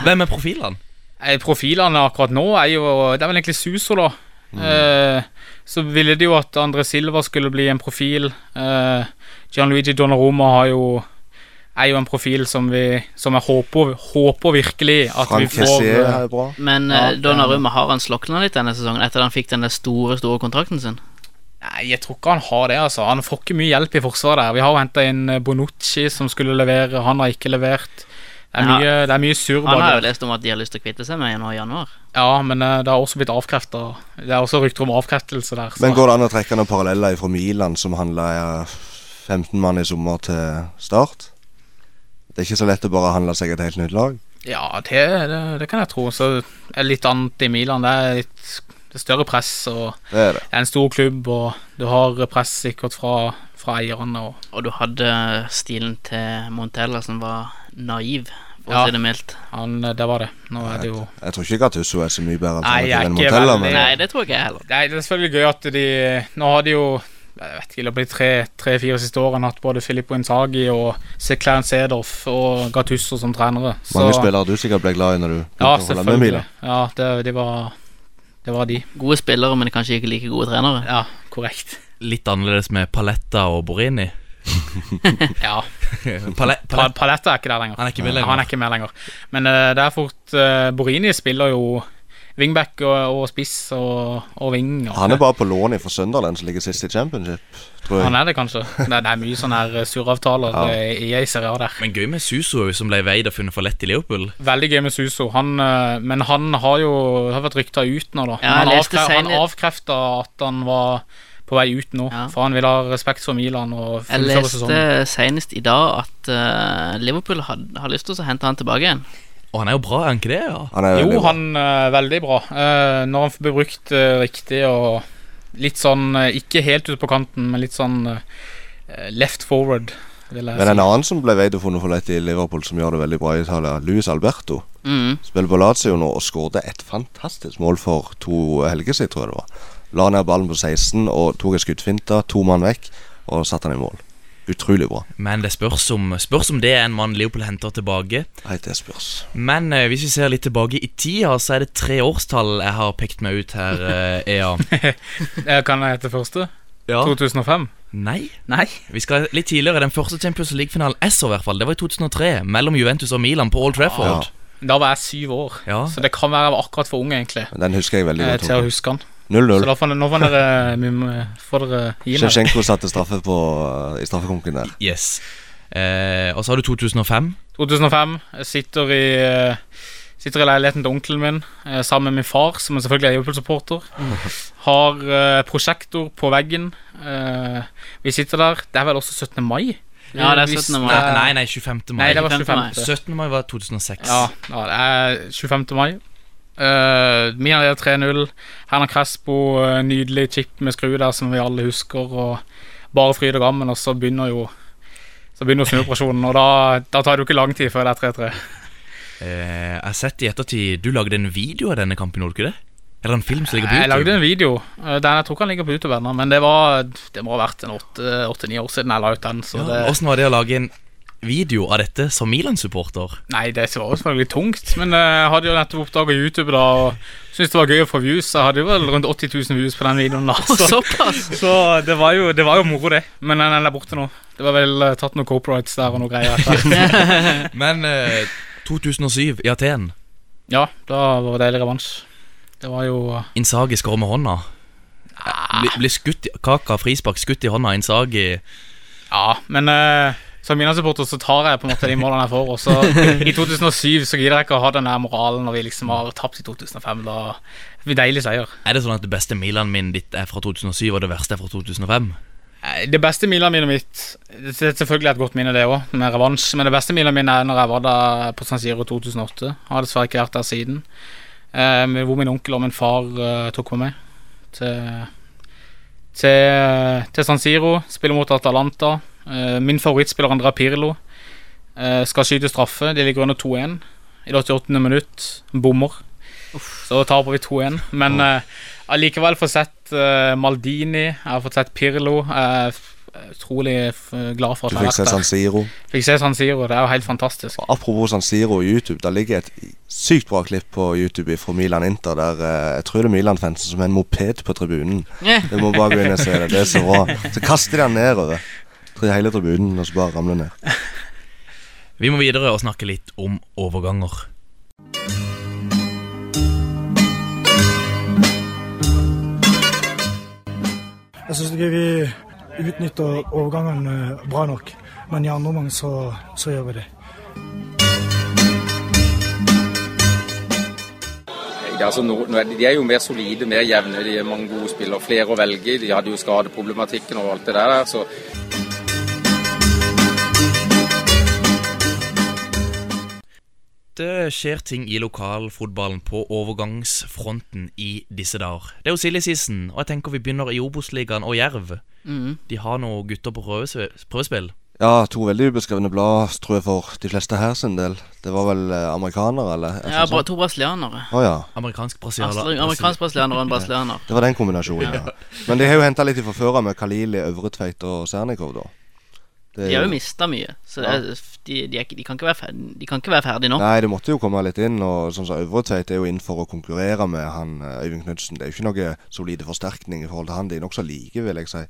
Speaker 1: Hvem er profilene?
Speaker 5: Eh, Profilene akkurat nå er jo Det er vel egentlig Suso, da.
Speaker 3: Mm.
Speaker 5: Eh, så ville de jo at André Silva skulle bli en profil. Eh, Gianluigi Donnarumma har jo er jo en profil som vi Som jeg håper, håper virkelig at vi
Speaker 3: Frank
Speaker 5: får
Speaker 3: Kessier
Speaker 5: eh,
Speaker 3: er bra.
Speaker 4: Men
Speaker 5: Ja,
Speaker 4: ja,
Speaker 5: det-
Speaker 4: Donnarumma har han slokna litt denne sesongen etter at han fikk den der store store kontrakten sin.
Speaker 5: Nei, jeg tror ikke han har det, altså. Han får ikke mye hjelp i forsvaret der. Vi har jo henta inn eh, Bonucci, som skulle levere. Han har ikke levert. Det er
Speaker 4: Ja.
Speaker 5: mye, det er mye surr
Speaker 4: Han har
Speaker 5: bak
Speaker 4: jo lest om at de har lyst til å kvitte seg med nå i januar.
Speaker 5: Ja, men eh, det har også blitt avkrefta. Det er også rykter om avkreftelse der. så-
Speaker 3: Men går det an å trekke noen paralleller fra Milan, som handla 15 mann i sommer, til Start? Det er ikke så lett å bare handle seg et helt nytt lag.
Speaker 5: Ja, det, det, det kan jeg tro. Så er det litt annet i Milan. Det er litt det er større press, og
Speaker 3: Det er det.
Speaker 5: det er en stor klubb, og du har press sikkert fra, fra eierne. Og,
Speaker 4: Og du hadde stilen til Montella som var naiv, for
Speaker 5: Ja.
Speaker 4: å si det mildt.
Speaker 5: han, det var det. Nå er det jo
Speaker 3: Jeg tror ikke Gattusso er så mye bedre
Speaker 5: Nei, jeg
Speaker 3: alternativ
Speaker 5: er
Speaker 3: enn
Speaker 5: ikke
Speaker 3: Montella,
Speaker 5: veldig-
Speaker 3: men
Speaker 4: Nei, det tror ikke jeg heller.
Speaker 5: Det er, det er selvfølgelig gøy at de Nå har de jo jeg vet ikke, i løpet av de tre- tre-fire siste årene hatt både Filippo Inzaghi og Clarence Sedorf og Gattusso som trenere. Så-
Speaker 3: mange spillere du sikkert ble glad i når du
Speaker 5: ja,
Speaker 3: begynte å holde med
Speaker 5: selvfølgelig.
Speaker 3: Milan.
Speaker 5: Ja, det, de var, det var de.
Speaker 4: Gode spillere, men kanskje ikke like gode trenere.
Speaker 5: Ja, korrekt.
Speaker 1: Litt annerledes med Paletta og Borini.
Speaker 5: Ja,
Speaker 1: Pale
Speaker 5: Pa-
Speaker 1: Pale
Speaker 5: Paletta er ikke der lenger.
Speaker 1: Han er ikke med lenger.
Speaker 5: Han er ikke med lenger. Men eh, det er fort eh, Borini spiller jo wingback og, og spiss og, og wing. Og,
Speaker 3: Han er bare på lån fra Sunderland, som ligger sist i championship, tror
Speaker 5: Han
Speaker 3: jeg.
Speaker 5: er det, kanskje. Det, det er mye sånne her, eh, surravtaler
Speaker 3: Ja.
Speaker 5: eh, i ei serie A der.
Speaker 1: Men gøy med Suso, som ble veid og funnet for lett i Liverpool.
Speaker 5: Veldig gøy med Suso. Han, eh, men han har jo har vært rykta ut nå, da.
Speaker 4: Ja,
Speaker 5: han
Speaker 4: jeg leste
Speaker 5: avkre- han
Speaker 4: senere-
Speaker 5: avkrefta at han var på vei ut nå,
Speaker 4: Ja.
Speaker 5: for han vil ha respekt for Milan og
Speaker 4: Jeg
Speaker 5: fullføre
Speaker 4: leste
Speaker 5: sesongen.
Speaker 4: senest i dag at eh, Liverpool had, har lyst til å hente han tilbake igjen.
Speaker 1: Og han er jo bra, er han ikke det? ja?
Speaker 3: Han Eh, er
Speaker 5: Jo,
Speaker 3: veldig bra.
Speaker 5: han er veldig bra. Eh, når han blir brukt eh, riktig og litt sånn eh, Ikke helt ute på kanten, men litt sånn eh, left forward, vil jeg
Speaker 3: Men en
Speaker 5: si.
Speaker 3: annen som ble veid og funnet for lett i Liverpool, som gjør det veldig bra i Italia, Luis Alberto,
Speaker 4: Mm.
Speaker 3: spiller på Lazio nå og skårte et fantastisk mål for to helger siden, tror jeg det var. La ned ballen på 16 og tok en skuddfinte, to mann vekk, og satte han i mål. Utrolig bra.
Speaker 1: Men det spørs om, spørs om det er en mann Liverpool henter tilbake.
Speaker 3: Nei, det spørs.
Speaker 1: Men eh, hvis vi ser litt tilbake i tida, så er det tre årstall jeg har pekt meg ut her, eh, Ea.
Speaker 5: Eh, Kan jeg hete første?
Speaker 1: Ja.
Speaker 5: 2005?
Speaker 1: Nei.
Speaker 4: Nei.
Speaker 1: Vi skal litt tidligere. Den første Champions League-finalen jeg så, i hvert fall, det var i 2003. Mellom Juventus og Milan på Old Trafford.
Speaker 5: Da var jeg syv år,
Speaker 1: Ja.
Speaker 5: så det kan være jeg var akkurat for ung egentlig
Speaker 3: Men Den husker jeg veldig
Speaker 5: eh,
Speaker 3: godt.
Speaker 5: til å huske han. Så
Speaker 3: 0-0.
Speaker 5: da får, nå får dere, vi må- får dere gi meg.
Speaker 3: Sjevsjenko satte straffe på, i straffekonken der.
Speaker 1: Yes. Eh, og så har du 2005.
Speaker 5: 2005. Jeg sitter i, eh, sitter i leiligheten til onkelen min eh, sammen med min far, som er selvfølgelig er Liverpool-supporter. Har eh, prosjektor på veggen. Eh, Vi sitter der. Det er vel også 17. mai?
Speaker 4: Ja, det er
Speaker 5: Hvis-
Speaker 4: 17. mai.
Speaker 1: Nei, nei, nei 25. mai.
Speaker 5: Nei, det var
Speaker 4: 25. mai.
Speaker 5: 25.
Speaker 1: 17. mai var 2006.
Speaker 5: Ja, ja, det er 25. mai. Uh, Mia leder 3-0. Hernan Crespo, eh, nydelig chip med skru der som vi alle husker. Og bare fryd og gammen, og så begynner jo Så begynner jo snuoperasjonen. Og da, da tar det jo ikke lang tid før det er 3-3.
Speaker 1: Eh, jeg har sett i ettertid Du lagde en video av denne kampen, gjorde du ikke det? Eller en film som ligger på
Speaker 5: Jeg
Speaker 1: YouTube?
Speaker 5: lagde en video. eh, Den jeg tror ikke han ligger på YouTube ennå, men det var Det må ha vært en åtte- åtte-ni år siden jeg la ut den. Så
Speaker 1: Ja,
Speaker 5: det,
Speaker 1: Åssen var det å lage en video av dette som Milan-supporter?
Speaker 5: nei, det var jo selvfølgelig tungt, men eh, jeg hadde jo nettopp oppdaga YouTube da og syntes det var gøy å få views. Jeg hadde jo vel rundt 80 000 views på den videoen da. Så,
Speaker 4: Såpass.
Speaker 5: så det, var jo, det var jo moro, det. Men den den er borte nå. Det var vel eh, tatt noen copyrights der og noe greier. etter.
Speaker 1: Men eh, 2007 i Aten.
Speaker 5: Ja, da var det deilig revansj. Det var jo
Speaker 1: Insagi skårer med hånda. Blir bli skutt i Kaka frispark skutt i hånda. Insagi
Speaker 5: Ja, men eh, som Milan-supporter så tar jeg på en måte de målene jeg får. Og så i 2007 så gidder jeg ikke å ha den der moralen når vi liksom har tapt i 2005. Da det blir deilig seier.
Speaker 1: Er det sånn at det beste Milan min ditt er fra 2007, og det verste er fra 2005?
Speaker 5: Eh, Det beste Milan-minnet mitt Det er selvfølgelig et godt minne, det òg, med revansj. Men det beste Milan-minnet er når jeg var der på San Siro 2008. Har dessverre ikke vært der siden. Eh, men hvor min onkel og min far eh, tok med meg til, til, til San Siro. Spiller mot Atalanta. Eh, min favorittspiller Andrea Pirlo eh, skal skyte straffe. De ligger under 2-1 i det 88. minutt. Bommer. Så taper vi 2-1. Men eh, Allikevel får sett eh, Maldini, jeg har fått sett Pirlo. Jeg er f- utrolig f glad for
Speaker 3: Du
Speaker 5: at jeg
Speaker 3: fikk se
Speaker 5: har
Speaker 3: San
Speaker 5: vært der.
Speaker 3: Siro.
Speaker 5: Fikk se San Siro, det er jo helt fantastisk.
Speaker 3: Og Apropos San Siro og YouTube, der ligger et sykt bra klipp på YouTube fra Milan Inter, der eh, jeg tror det er Milan-fansen som er en moped på tribunen. Du må bare gå inn og se det. Det er så bra. Så kaster de den nedover. Tror hele tribunen, og så bare ramler ned.
Speaker 1: Vi må videre og snakke litt om overganger.
Speaker 10: Jeg syns ikke vi utnytter overgangen eh, bra nok. Men i andre omgang så, så gjør vi det.
Speaker 11: Altså, nå, nå er de, de er jo mer solide, mer jevne. De er mange gode spillere, flere å velge i. De hadde jo skadeproblematikken og alt det der. Så
Speaker 1: Det skjer ting i lokalfotballen på overgangsfronten i disse dager. Det er jo silly season, og jeg tenker vi begynner i Obos-ligaen og Jerv. De har noen gutter på prøvesve- prøvespill.
Speaker 3: Ja, to veldig ubeskrevne blad, tror jeg, for de fleste her sin del. Det var vel eh, amerikanere, eller?
Speaker 4: Ja, bra, to brasilianere.
Speaker 3: Å ja.
Speaker 1: Amerikansk brasilianer.
Speaker 4: Amerikansk brasilianer og en brasilianer.
Speaker 3: Det var den kombinasjonen, ja. Men de har jo henta litt fra før av med Kalili, Øvretveit og Sernikov, da. Det er
Speaker 4: De har jo mista mye, så det er, de, de, er, ikke- de, kan ikke være ferdig, de kan ikke være ferdig nå.
Speaker 3: Nei, det måtte jo komme litt inn. Og sånn som Øvretveit er jo inn for å konkurrere med han eh, Øyvind Knutsen. Det er jo ikke noe solide forsterkning i forhold til han. De er nokså like, vil jeg si.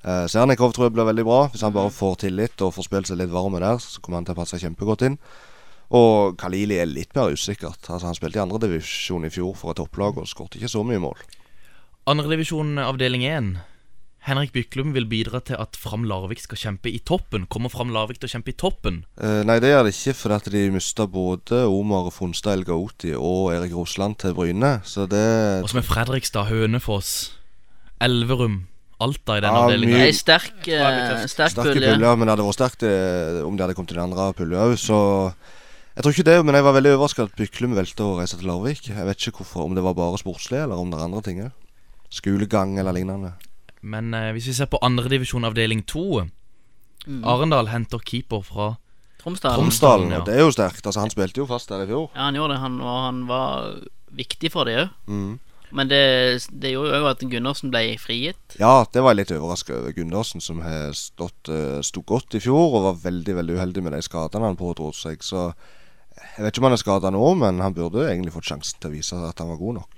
Speaker 3: Eh, Sernikov tror jeg blir veldig bra. Hvis han bare får tillit og får spilt seg litt varme der, så kommer han til å passe kjempegodt inn. Og Kalili er litt mer usikkert. Altså, han spilte i andredivisjon i fjor for et topplag og skåret ikke så mye mål.
Speaker 1: Andredivisjon eh, avdeling 1. Henrik Byklum vil bidra til at Fram Larvik skal kjempe i toppen. Kommer Fram Larvik til å kjempe i toppen?
Speaker 3: Eh, nei, det er det ikke, fordi at de mista både Omar Fonstad El Gaouti og Erik Rosland til Bryne. Så det
Speaker 1: Og som er Fredrikstad, Hønefoss, Elverum, Alta i den
Speaker 3: Ja,
Speaker 1: avdelinga.
Speaker 3: mye-
Speaker 4: Ei sterk, eh, sterk
Speaker 3: Sterke
Speaker 4: pulje.
Speaker 3: puljer, men det hadde vært sterkt eh, om de hadde kommet til den andre pulja òg, så Jeg tror ikke det, men jeg var veldig overraska at Byklum valgte å reise til Larvik. Jeg vet ikke hvorfor, om det var bare sportslig, eller om det er andre ting òg. Skolegang eller lignende.
Speaker 1: Men eh, hvis vi ser på andredivisjon avdeling 2
Speaker 4: Mm.
Speaker 1: Arendal henter keeper fra
Speaker 4: Tromsdalen.
Speaker 3: Tromsdalen,
Speaker 1: ja.
Speaker 3: og det er jo sterkt. Altså, han spilte jo fast der i fjor.
Speaker 4: Ja, han gjorde det, han, og han var viktig for det òg.
Speaker 3: Mhm.
Speaker 4: Men det, det gjorde jo òg at Gundersen ble frigitt.
Speaker 3: Ja, det var jeg litt overraska over. Gundersen, som har stått, eh, sto godt i fjor og var veldig veldig uheldig med de skadene han pådro seg. Så jeg vet ikke om han er skada nå, men han burde egentlig fått sjansen til å vise at han var god nok.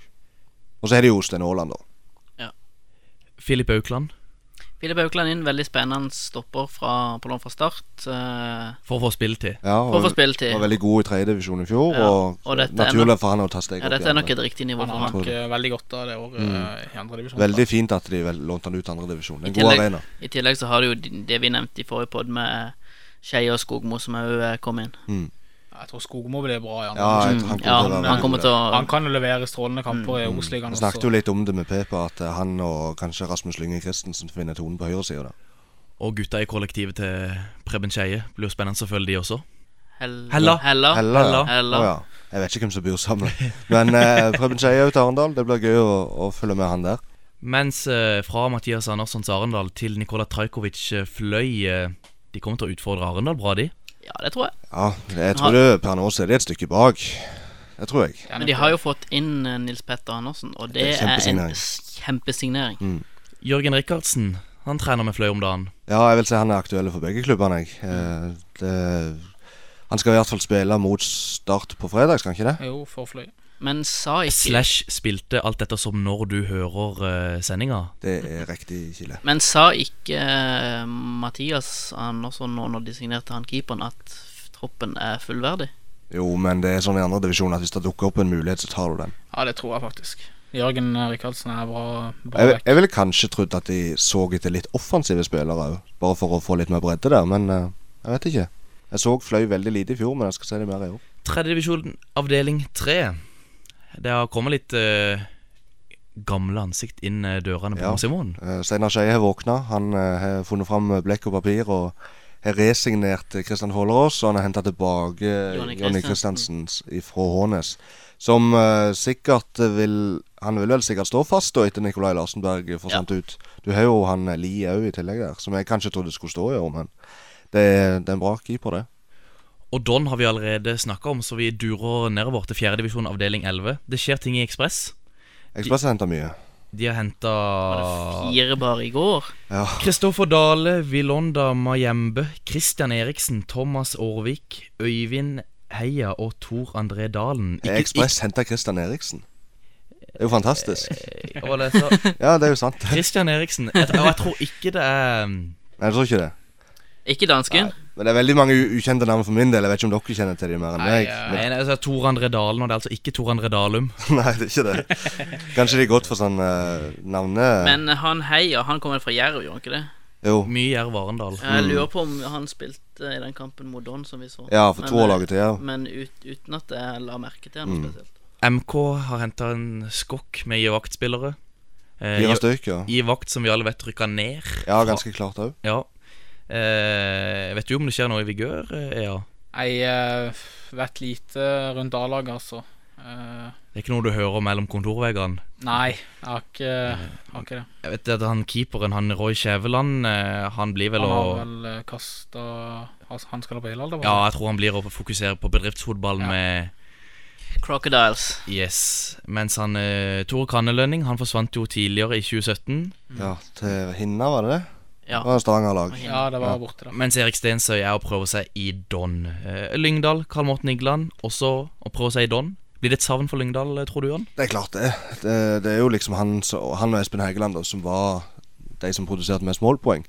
Speaker 3: Og så er det jo Sten Aaland, da.
Speaker 1: Filip Aukland
Speaker 4: Filip Aukland inn, veldig spennende stopper fra, på lån fra start. eh,
Speaker 1: for å få spilletid.
Speaker 3: Ja,
Speaker 4: For å få spilletid.
Speaker 3: var veldig god i tredjedivisjon i fjor,
Speaker 4: Ja,
Speaker 3: og,
Speaker 4: og dette er
Speaker 3: naturlig
Speaker 4: nok-
Speaker 3: for han å ta steg
Speaker 4: ja,
Speaker 3: opp
Speaker 4: dette er
Speaker 3: igjen.
Speaker 4: nok et riktig nivå
Speaker 5: Han
Speaker 4: for
Speaker 5: har
Speaker 4: han.
Speaker 5: nok eh, veldig godt av det året eh, i andre divisjon.
Speaker 3: Mm. Veldig fint at de vel, lånte han ut til andredivisjon.
Speaker 4: I
Speaker 3: En god
Speaker 4: tillegg,
Speaker 3: arena.
Speaker 4: I tillegg så har du jo de- det vi nevnte i forrige pod med Skei og Skogmo, som òg kom inn.
Speaker 5: Jeg tror Skogmo blir bra i andre
Speaker 3: Ja, jeg
Speaker 5: divisjon.
Speaker 3: tror han kommer
Speaker 4: Mm. Ja,
Speaker 3: til å være
Speaker 4: han kommer til å
Speaker 5: Han kan jo levere strålende kamper i Obos-ligaen
Speaker 3: Vi Mm,
Speaker 5: også.
Speaker 3: snakket jo litt om det med Pepa, at eh, han og kanskje Rasmus Lynge Christensen finner tonen på høyresida.
Speaker 1: Og gutta i kollektivet til Preben Skeie. Blir jo spennende å følge de også.
Speaker 4: Hell-
Speaker 1: Hella.
Speaker 4: Hella.
Speaker 3: Hella, ja.
Speaker 4: Hella.
Speaker 3: Å, ja. Jeg vet ikke hvem som bor sammen. Men eh, Preben Skeie ut til Arendal. Det blir gøy å, å følge med han der.
Speaker 1: Mens eh, fra Mathias Anderssons Arendal til Nikola Trajkovic eh, fløy eh, De kommer til å utfordre Arendal bra, de.
Speaker 4: ja, det tror jeg.
Speaker 3: Ja, jeg tror det per nå så er det et stykke bak. Det tror jeg.
Speaker 4: Men de har jo fått inn eh, Nils Petter Andersen, og det
Speaker 3: Det er
Speaker 4: er en
Speaker 3: kjempesignering.
Speaker 4: s- kjempesignering.
Speaker 1: Jørgen Rikardsen han trener med fløy om dagen.
Speaker 3: Ja, jeg vil si han er aktuell for begge klubbene, jeg. Eh, det, han skal i hvert fall spille mot Start på fredag, skal han ikke det?
Speaker 5: Jo, for fløy.
Speaker 4: Men sa ikke
Speaker 1: Slash spilte alt dette som når du hører eh, sendinga.
Speaker 3: Det er riktig, Kile.
Speaker 4: Men sa ikke eh, Mathias Andersson nå når de signerte han keeperen, at f- troppen er fullverdig?
Speaker 3: Jo, men det er sånn i andre divisjon at hvis det dukker opp en mulighet, så tar du den.
Speaker 5: Ja, det tror jeg faktisk. Jørgen Rikardsen er bra, bra
Speaker 3: Jeg,
Speaker 5: back.
Speaker 3: jeg ville kanskje trodd at de så etter litt offensive spillere òg, bare for å få litt mer bredde der, men eh, jeg vet ikke. Jeg så Fløy veldig lite i fjor, men jeg skal se det mer i år.
Speaker 1: Tredjedivisjon avdeling tre. Det har kommet litt eh, gamle ansikt inn eh, dørene på
Speaker 3: Ja.
Speaker 1: Simon.
Speaker 3: Eh, Steinar Skeie har våkna. Han eh, har funnet fram eh, blekk og papir og har resignert eh, Kristian Hålerås. Og han har henta tilbake eh,
Speaker 4: Jonny
Speaker 3: Jonny
Speaker 4: Christiansen.
Speaker 3: Kristiansen fra Hånes. Som eh, sikkert eh, vil Han vil vel sikkert stå fast da etter Nikolai Larsenberg eh, forsvant ut. Du har jo han eh, Lie òg i tillegg der, som jeg kanskje trodde skulle stå i år, men det er, det er en bra keeper, det.
Speaker 1: Og Don har vi allerede snakka om, så vi durer nedover til fjerdedivisjon avdeling 11. Det skjer ting i Ekspress.
Speaker 3: Ekspress har henta mye.
Speaker 1: De har
Speaker 3: Ah.
Speaker 1: henta
Speaker 4: Fire bare i går.
Speaker 3: Ja.
Speaker 1: Kristoffer Dale, Vilonda Majembe, Christian Eriksen, Thomas Aarvik, Øyvind Heia og Tor André Dalen.
Speaker 3: Ekspress henta Kristian Eriksen. Det
Speaker 4: Eh,
Speaker 3: er jo fantastisk.
Speaker 1: ikke- hva var det jeg sa?
Speaker 3: Ja, det er jo sant.
Speaker 1: Christian Eriksen. Jeg, og jeg tror ikke det er um,
Speaker 3: Nei, jeg tror ikke det.
Speaker 4: Ikke dansken.
Speaker 3: Men det er veldig mange u- ukjente navn for min del. Jeg vet ikke om dere kjenner til dem mer enn meg.
Speaker 1: Nei, nei, altså, Tor André Dalen, og det er altså ikke Tor André Dalum.
Speaker 3: Men, nei, det er ikke det. Kanskje de er godt for sånn uh, navne...
Speaker 4: Men han Heia, han kommer fra Jerv, gjorde han ikke det?
Speaker 3: Jo.
Speaker 1: Mye Jerv Arendal.
Speaker 4: Jeg lurer på om han spilte i den kampen mot Don, som vi så.
Speaker 3: Mm. Ja, for
Speaker 4: Men,
Speaker 3: to år laget til, ja.
Speaker 4: Men ut, uten at jeg la merke til han
Speaker 3: Mm.
Speaker 4: noe spesielt.
Speaker 1: MK har henta en skokk med J-vaktspillere. eh,
Speaker 3: Fire stykk, ja.
Speaker 1: J-vakt som vi alle vet rykka ned.
Speaker 3: Ja, ganske klart òg.
Speaker 1: Ja. Eh, vet du om det skjer noe i vigør? eh, Ja.
Speaker 5: Jeg eh, vet lite rundt A-laget, altså. Eh,
Speaker 1: Det er ikke noe du hører mellom kontorveggene.
Speaker 5: nei, jeg har ikke, har ikke det.
Speaker 1: Jeg vet at han keeperen, han Roy Skjæveland, eh, han blir vel
Speaker 5: Han
Speaker 1: å
Speaker 5: har vel eh, kastet altså, Han skal opp på Hillhalda?
Speaker 1: Ja, jeg tror han blir å fokusere på bedriftsfotballen med
Speaker 4: Crocodiles.
Speaker 1: Yes. Mens han eh, Tore Kannelønning, han forsvant jo tidligere i 2017.
Speaker 3: Ja, til Hinna, var det det?
Speaker 4: Ja.
Speaker 3: Det var Stavanger-lag.
Speaker 5: ja, det var borte, da.
Speaker 1: Mens Erik Stensøy er å prøve seg i Don. Eh, Lyngdal, Karl Morten Igland, også å prøve seg i Don. Blir det et savn for Lyngdal, eh, tror du, Jan?
Speaker 3: Det er klart, det. Det, det er jo liksom han, så, og han og Espen Hægeland da, som var de som produserte mest målpoeng.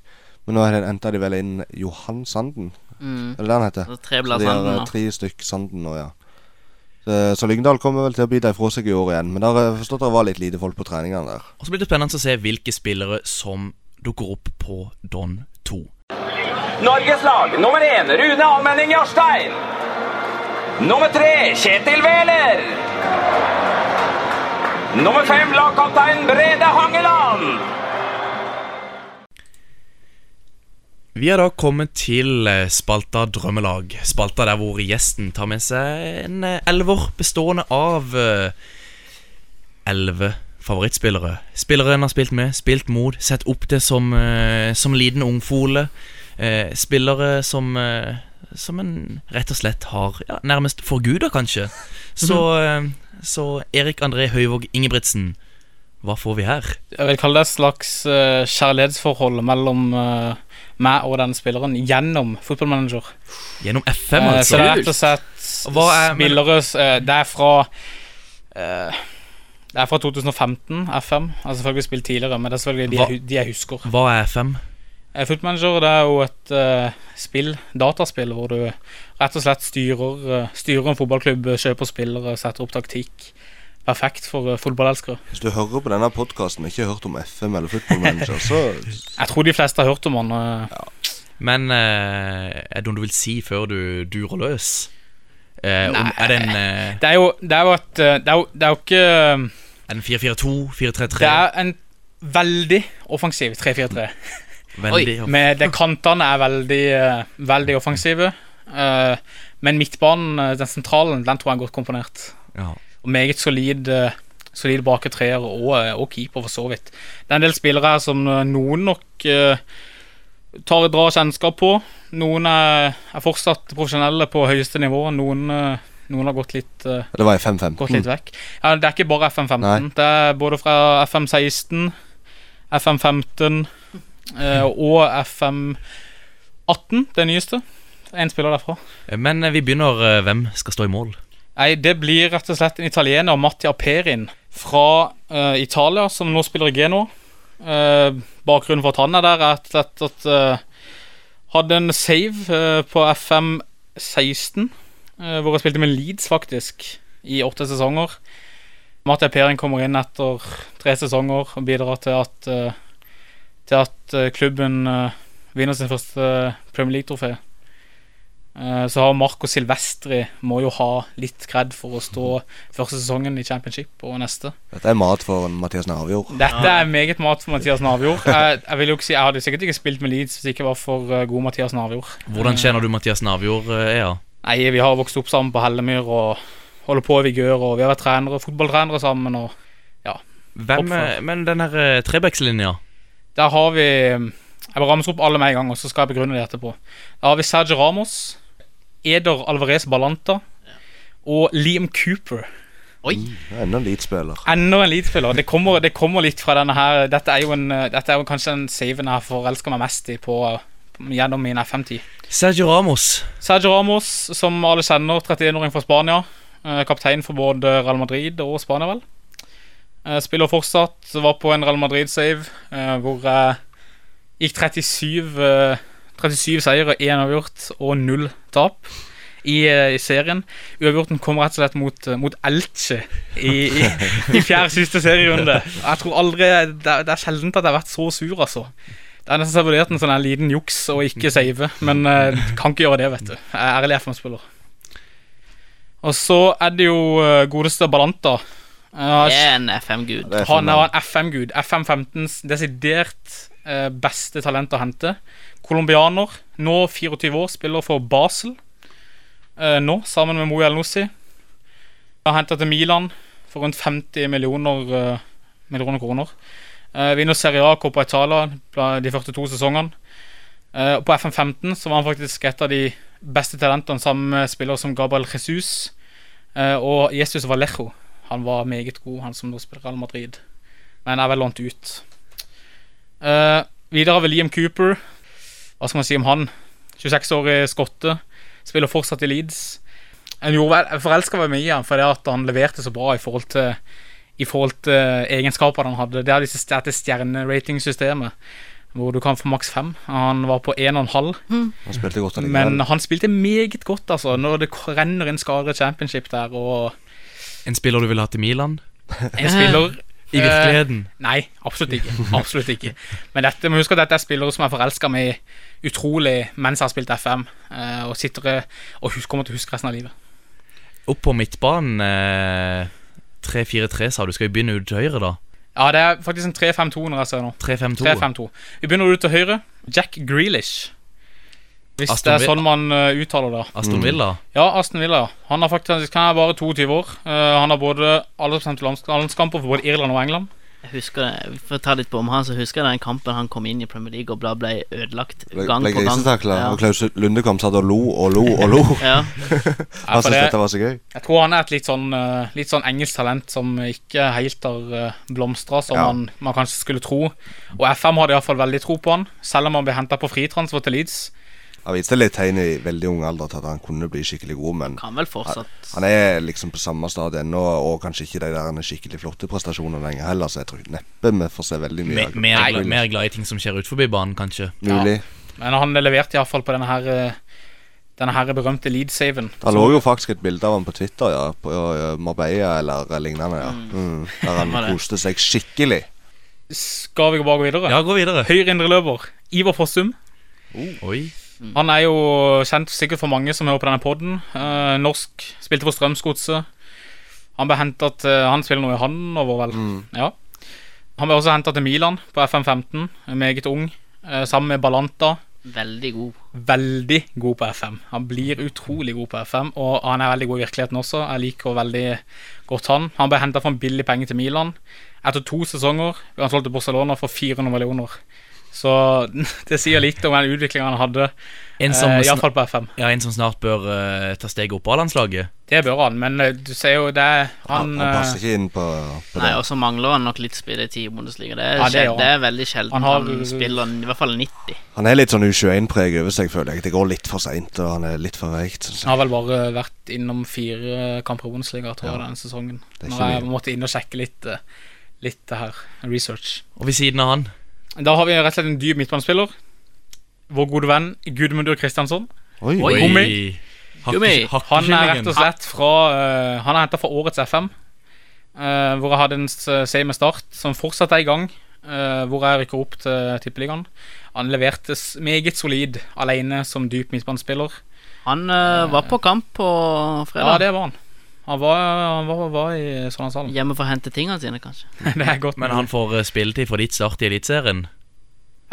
Speaker 3: Men nå henta de vel inn Johan Sanden,
Speaker 4: Mm.
Speaker 3: Er det det han heter?
Speaker 4: Så tre blir
Speaker 3: Så de har,
Speaker 4: Sanden
Speaker 3: eh,
Speaker 4: nå.
Speaker 3: Tre stykk Sanden nå, ja. Så, så Lyngdal kommer vel til å bite ifra seg i år igjen. Men der har jeg forstått at det var litt lite folk på treningene der.
Speaker 1: Og så blir det spennende å se hvilke spillere som dukker opp på Don 2.
Speaker 9: Norges lag nummer én Rune Almenning Jarstein. Nummer tre Kjetil Wæler. Nummer fem lagkaptein Brede Hangeland.
Speaker 1: Vi er da kommet til eh, spalta Drømmelag. Spalta der hvor gjesten tar med seg en eh, elver bestående av eh, elleve favorittspillere. Spillere en har spilt med, spilt mot, sett opp til som, eh, som liten ungfole. Eh, Spillere som eh, som en rett og slett har ja, nærmest forguda, kanskje. Så, eh, så Erik André Høyvåg Ingebrigtsen, hva får vi her?
Speaker 5: Jeg vil kalle det et slags eh, kjærlighetsforhold mellom eh, meg og den spilleren gjennom fotballmanager.
Speaker 1: Gjennom FM,
Speaker 5: Eh,
Speaker 1: altså?
Speaker 5: Så det er rett og slett
Speaker 1: Hva er- men-
Speaker 5: spillere eh, Det er fra eh, Det er fra 2015, FM. Jeg har Altså, selvfølgelig spilt tidligere, men det er selvfølgelig de,
Speaker 1: Hva-
Speaker 5: jeg hu- de jeg husker.
Speaker 1: Hva er FM?
Speaker 5: Eh, Footmanager det er jo et eh, spill, dataspill, hvor du rett og slett styrer, eh, styrer en fotballklubb, eh, kjøper spillere, setter opp taktikk. Perfekt for eh, fotballelskere.
Speaker 3: Hvis du hører på denne podkasten og ikke har hørt om FM eller Football Manager, så
Speaker 5: Jeg tror de fleste har hørt om han. eh.
Speaker 1: Men eh, er det noe du vil si før du durer løs? Eh, om, er det en eh,
Speaker 5: Det er jo, det er jo et eh, Det er jo, det er jo ikke eh,
Speaker 1: er det en 442? 433?
Speaker 5: Det er en veldig offensiv 3-4-3.
Speaker 1: Veldig
Speaker 5: Oi.
Speaker 1: off-
Speaker 5: Med de kantene er veldig, eh, veldig offensive. Eh, men midtbanen, eh, den sentralen, den tror jeg er godt komponert.
Speaker 1: Ja.
Speaker 5: Og meget solid, eh, solid bak i treer og, eh, og keeper, for så vidt. Det er en del spillere her som eh, noen nok eh, tar drar kjennskap på. Noen er, er fortsatt profesjonelle på høyeste nivå. Noen, eh, noen har gått litt eh,
Speaker 3: Det var i 5-5.
Speaker 5: gått litt vekk. Ja, det er ikke bare FM15.
Speaker 3: Nei.
Speaker 5: Det er både fra FM16, FM15 eh, og FM18, det nyeste. En spiller derfra.
Speaker 1: Men eh, vi begynner eh, Hvem skal stå i mål?
Speaker 5: Nei, det blir rett og slett en italiener, Mattia Perin, fra eh, Italia, som nå spiller i Genoa. Eh, bakgrunnen for at han er der, er rett og slett at eh, Hadde en save eh, på FM 16, eh, hvor han spilte med Leeds, faktisk, i åtte sesonger. Mattia Perin kommer inn etter tre sesonger og bidrar til at, eh, til at eh, klubben eh, vinner sin første Premier League-trofé. Eh, Så har Marco Silvestri må jo ha litt kred for å stå første sesongen i championship og neste.
Speaker 3: Dette er mat for en Mathias Navjord.
Speaker 5: Dette er meget mat for Mathias Navjord. Jeg, jeg vil jo ikke si, jeg hadde sikkert ikke spilt med Leeds hvis det ikke var for eh, god Mathias Navjord.
Speaker 1: Hvordan kjenner du Mathias Navjord, eh, Ea?
Speaker 5: Nei, vi har vokst opp sammen på Hellemyr og holder på i vigør, og vi har vært trenere, fotballtrenere sammen, og ja.
Speaker 1: Hvem, eh, men den her eh, trebekslinja
Speaker 5: Der har vi mm, Jeg bare ramser opp alle med en gang, og så skal jeg begrunne det etterpå. Der har vi Sergio Ramos, Eder Alvarez Balanta og Liam Cooper. Oi.
Speaker 3: Det er Enda en Leeds-spiller.
Speaker 5: Enda en Leeds-spiller. Det, kommer- det kommer litt fra denne her Dette er jo, en, eh, dette er jo kanskje den saven jeg forelsker meg mest i på, eh, gjennom min F5-tid.
Speaker 1: Sergio Ramos.
Speaker 5: Sergio Ramos, som alle kjenner, 31-åring fra Spania. eh, Kaptein for både Real Madrid og Spania, vel. Eh, Spiller fortsatt. Var på en Real Madrid-save eh, hvor jeg gikk 37, eh, 37 seire, 1 avgjort og 0 tap i, eh, i serien. Uavgjorten kom rett og slett mot, eh, mot Elche i, i, i fjerde siste serierunde. Jeg tror aldri, Det er, det er sjelden at jeg har vært så sur, altså. Det er nesten så jeg vurderte en sånn her liten juks og ikke save, men eh, kan ikke gjøre det, vet du. Jeg er ærlig FM-spiller. Og så er det jo eh, godeste Balanta. Uh,
Speaker 4: Det er en FM-gud.
Speaker 3: Det er sånn,
Speaker 5: han
Speaker 3: FM-mann.
Speaker 5: er en FM-gud. FM15s desidert eh, beste talent å hente. Colombianer, nå 24 år, spiller for Basel. eh, nå, sammen med Moe Elnossi. Har henta til Milan for rundt 50 millioner, eh, millioner kroner. Eh, vinner Serie A Coppa Italia bla- de første to sesongene. Eh, og på FM15 så var han faktisk et av de beste talentene sammen med spillere som Gabriel Jesus eh, og Jesus Vallejo. Han var meget god, han som nå spiller Real Madrid. Men er vel lånt ut. Eh, videre har vi Liam Cooper. Hva skal man si om han? 26-årig skotte. Spiller fortsatt i Leeds. En jordvel- Jeg forelska meg mye i han fordi at han leverte så bra i forhold til eh, i forhold til egenskapene han hadde. Det er disse- dette stjerneratingssystemet. hvor du kan få maks fem. Han var på én og en halv.
Speaker 3: Han spilte godt allikevel.
Speaker 5: Men han spilte meget godt, altså, når det k- renner inn skader i championship der, og
Speaker 1: En spiller du ville hatt i Milan?
Speaker 5: en spiller
Speaker 1: I virkeligheten?
Speaker 5: Eh, nei, absolutt ikke. Absolutt ikke. Men dette, må huske at dette er spillere som er forelska meg utrolig mens jeg har spilt FM, eh, og sitter eh, og hus- kommer til å huske resten av livet.
Speaker 1: Opp på midtbanen eh, 3-4-3, sa du. Skal vi begynne ut til høyre, da?
Speaker 5: Ja, det er faktisk en 3-5-2 når jeg ser nå.
Speaker 1: 3-5-2.
Speaker 5: 3-5-2. Vi begynner ut til høyre. Jack Grealish. Hvis
Speaker 1: Aston
Speaker 5: det er
Speaker 1: Vi-
Speaker 5: sånn man eh, uttaler det.
Speaker 1: Aston Villa?
Speaker 5: Ja, Aston Villa. ja. Han er faktisk han er bare 22 år. Eh, han har både alle bestemte lands- landskamper for både Irland og England.
Speaker 4: Jeg husker det, For å ta litt på om han, så husker jeg den kampen han kom inn i Premier League og bla ble ødelagt
Speaker 3: Ble,
Speaker 4: gang
Speaker 3: ble
Speaker 4: på gang.
Speaker 3: grisetakla,
Speaker 4: Ja.
Speaker 3: og Klaus Lunde kom satt og lo og lo og lo.
Speaker 4: Ja.
Speaker 5: Ja,
Speaker 3: Han
Speaker 5: for
Speaker 3: syntes
Speaker 5: det-
Speaker 3: dette var så gøy.
Speaker 5: Jeg tror han er et litt sånn, eh, litt sånn engelsk talent som ikke helt har eh, blomstra, som
Speaker 3: Ja.
Speaker 5: man, man kanskje skulle tro. Og FM hadde iallfall veldig tro på han, selv om han ble henta på fritransfer til Leeds.
Speaker 3: Han viste litt tegn i veldig ung alder til at han kunne bli skikkelig god, men
Speaker 4: Kan vel fortsatt
Speaker 3: han er liksom på samme stadiet ennå, og kanskje ikke de der han er skikkelig flotte prestasjoner lenger heller, så jeg tror neppe vi får se veldig mye.
Speaker 1: Me-
Speaker 3: av-
Speaker 1: Mer,
Speaker 3: Grealish.
Speaker 1: gla- mer glad i ting som skjer ut forbi banen, kanskje.
Speaker 3: Mulig.
Speaker 5: Men han leverte iallfall på denne her, eh, denne her berømte Leeds-saven.
Speaker 3: Det lå jo faktisk et bilde av han på Twitter, ja. På ja, Marbella eller lignende, ja. Mm. Der han
Speaker 5: Stemmer det.
Speaker 3: koste seg skikkelig.
Speaker 5: Skal vi bare gå videre?
Speaker 1: Ja, gå videre
Speaker 5: Høyre indreløper, Ivar Fossum.
Speaker 1: Oi.
Speaker 5: Han er jo kjent sikkert for mange som hører på denne poden. Eh, norsk, spilte for Strømsgodset. Han ble hentet til Han spiller nå i Hanover, vel. Ja. Han ble også henta til Milan på FM15, meget ung, eh, sammen med Balanta.
Speaker 4: Veldig god.
Speaker 5: Veldig god på FM. Han blir utrolig god på FM, og han er veldig god i virkeligheten også. Jeg liker veldig godt han. Han ble henta for en billig penge til Milan. Etter to sesonger ble han solgt til Barcelona for 400 millioner. Så det sier litt om den utviklinga han hadde, eh,
Speaker 1: En som sn-
Speaker 5: iallfall på FM.
Speaker 1: Ja, en som snart bør eh, ta steget opp på A-landslaget.
Speaker 5: Det bør han, men eh, du ser jo det Han, eh,
Speaker 3: ikke inn på,
Speaker 4: Nei, og så mangler han nok litt spilletid i Bundesliga. Det er,
Speaker 5: Ja, det gjør
Speaker 4: sjel-
Speaker 5: han.
Speaker 4: det er veldig sjelden
Speaker 5: Han
Speaker 4: han,
Speaker 5: har-
Speaker 4: spiller i hvert fall 90.
Speaker 3: Han er litt sånn U21-preg over seg, føler jeg. Det går litt for seint, og han er litt for veikt. synes jeg.
Speaker 5: han har vel bare vært innom fire eh, kamper i Bundesliga tror jeg, denne sesongen.
Speaker 3: Det er
Speaker 5: Når
Speaker 3: ikke
Speaker 5: jeg måtte inn og sjekke litt, eh, litt det her. Research.
Speaker 1: Og ved siden av han
Speaker 5: Da har vi rett og slett en dyp midtbanespiller. Vår gode venn Gudmundur Kristiansson.
Speaker 1: Oi. Oi.
Speaker 5: Gummi.
Speaker 1: Hakke- Gummi.
Speaker 5: Han er rett
Speaker 1: hakkekyllingen.
Speaker 5: og slett fra eh, Han er henta fra årets FM, eh, hvor jeg hadde en s- save med start som fortsatt er i gang. eh, hvor jeg rykker opp til Tippeligaen. Han leverte s- meget solid alene som dyp midtbanespiller.
Speaker 4: Han eh, var på kamp på fredag.
Speaker 5: Ja, det var han. Han var, han var, var i Sørlandshallen.
Speaker 4: Hjemme for å hente tingene sine, kanskje.
Speaker 5: det er godt
Speaker 1: Men han får eh, spilletid fra ditt start i Eliteserien.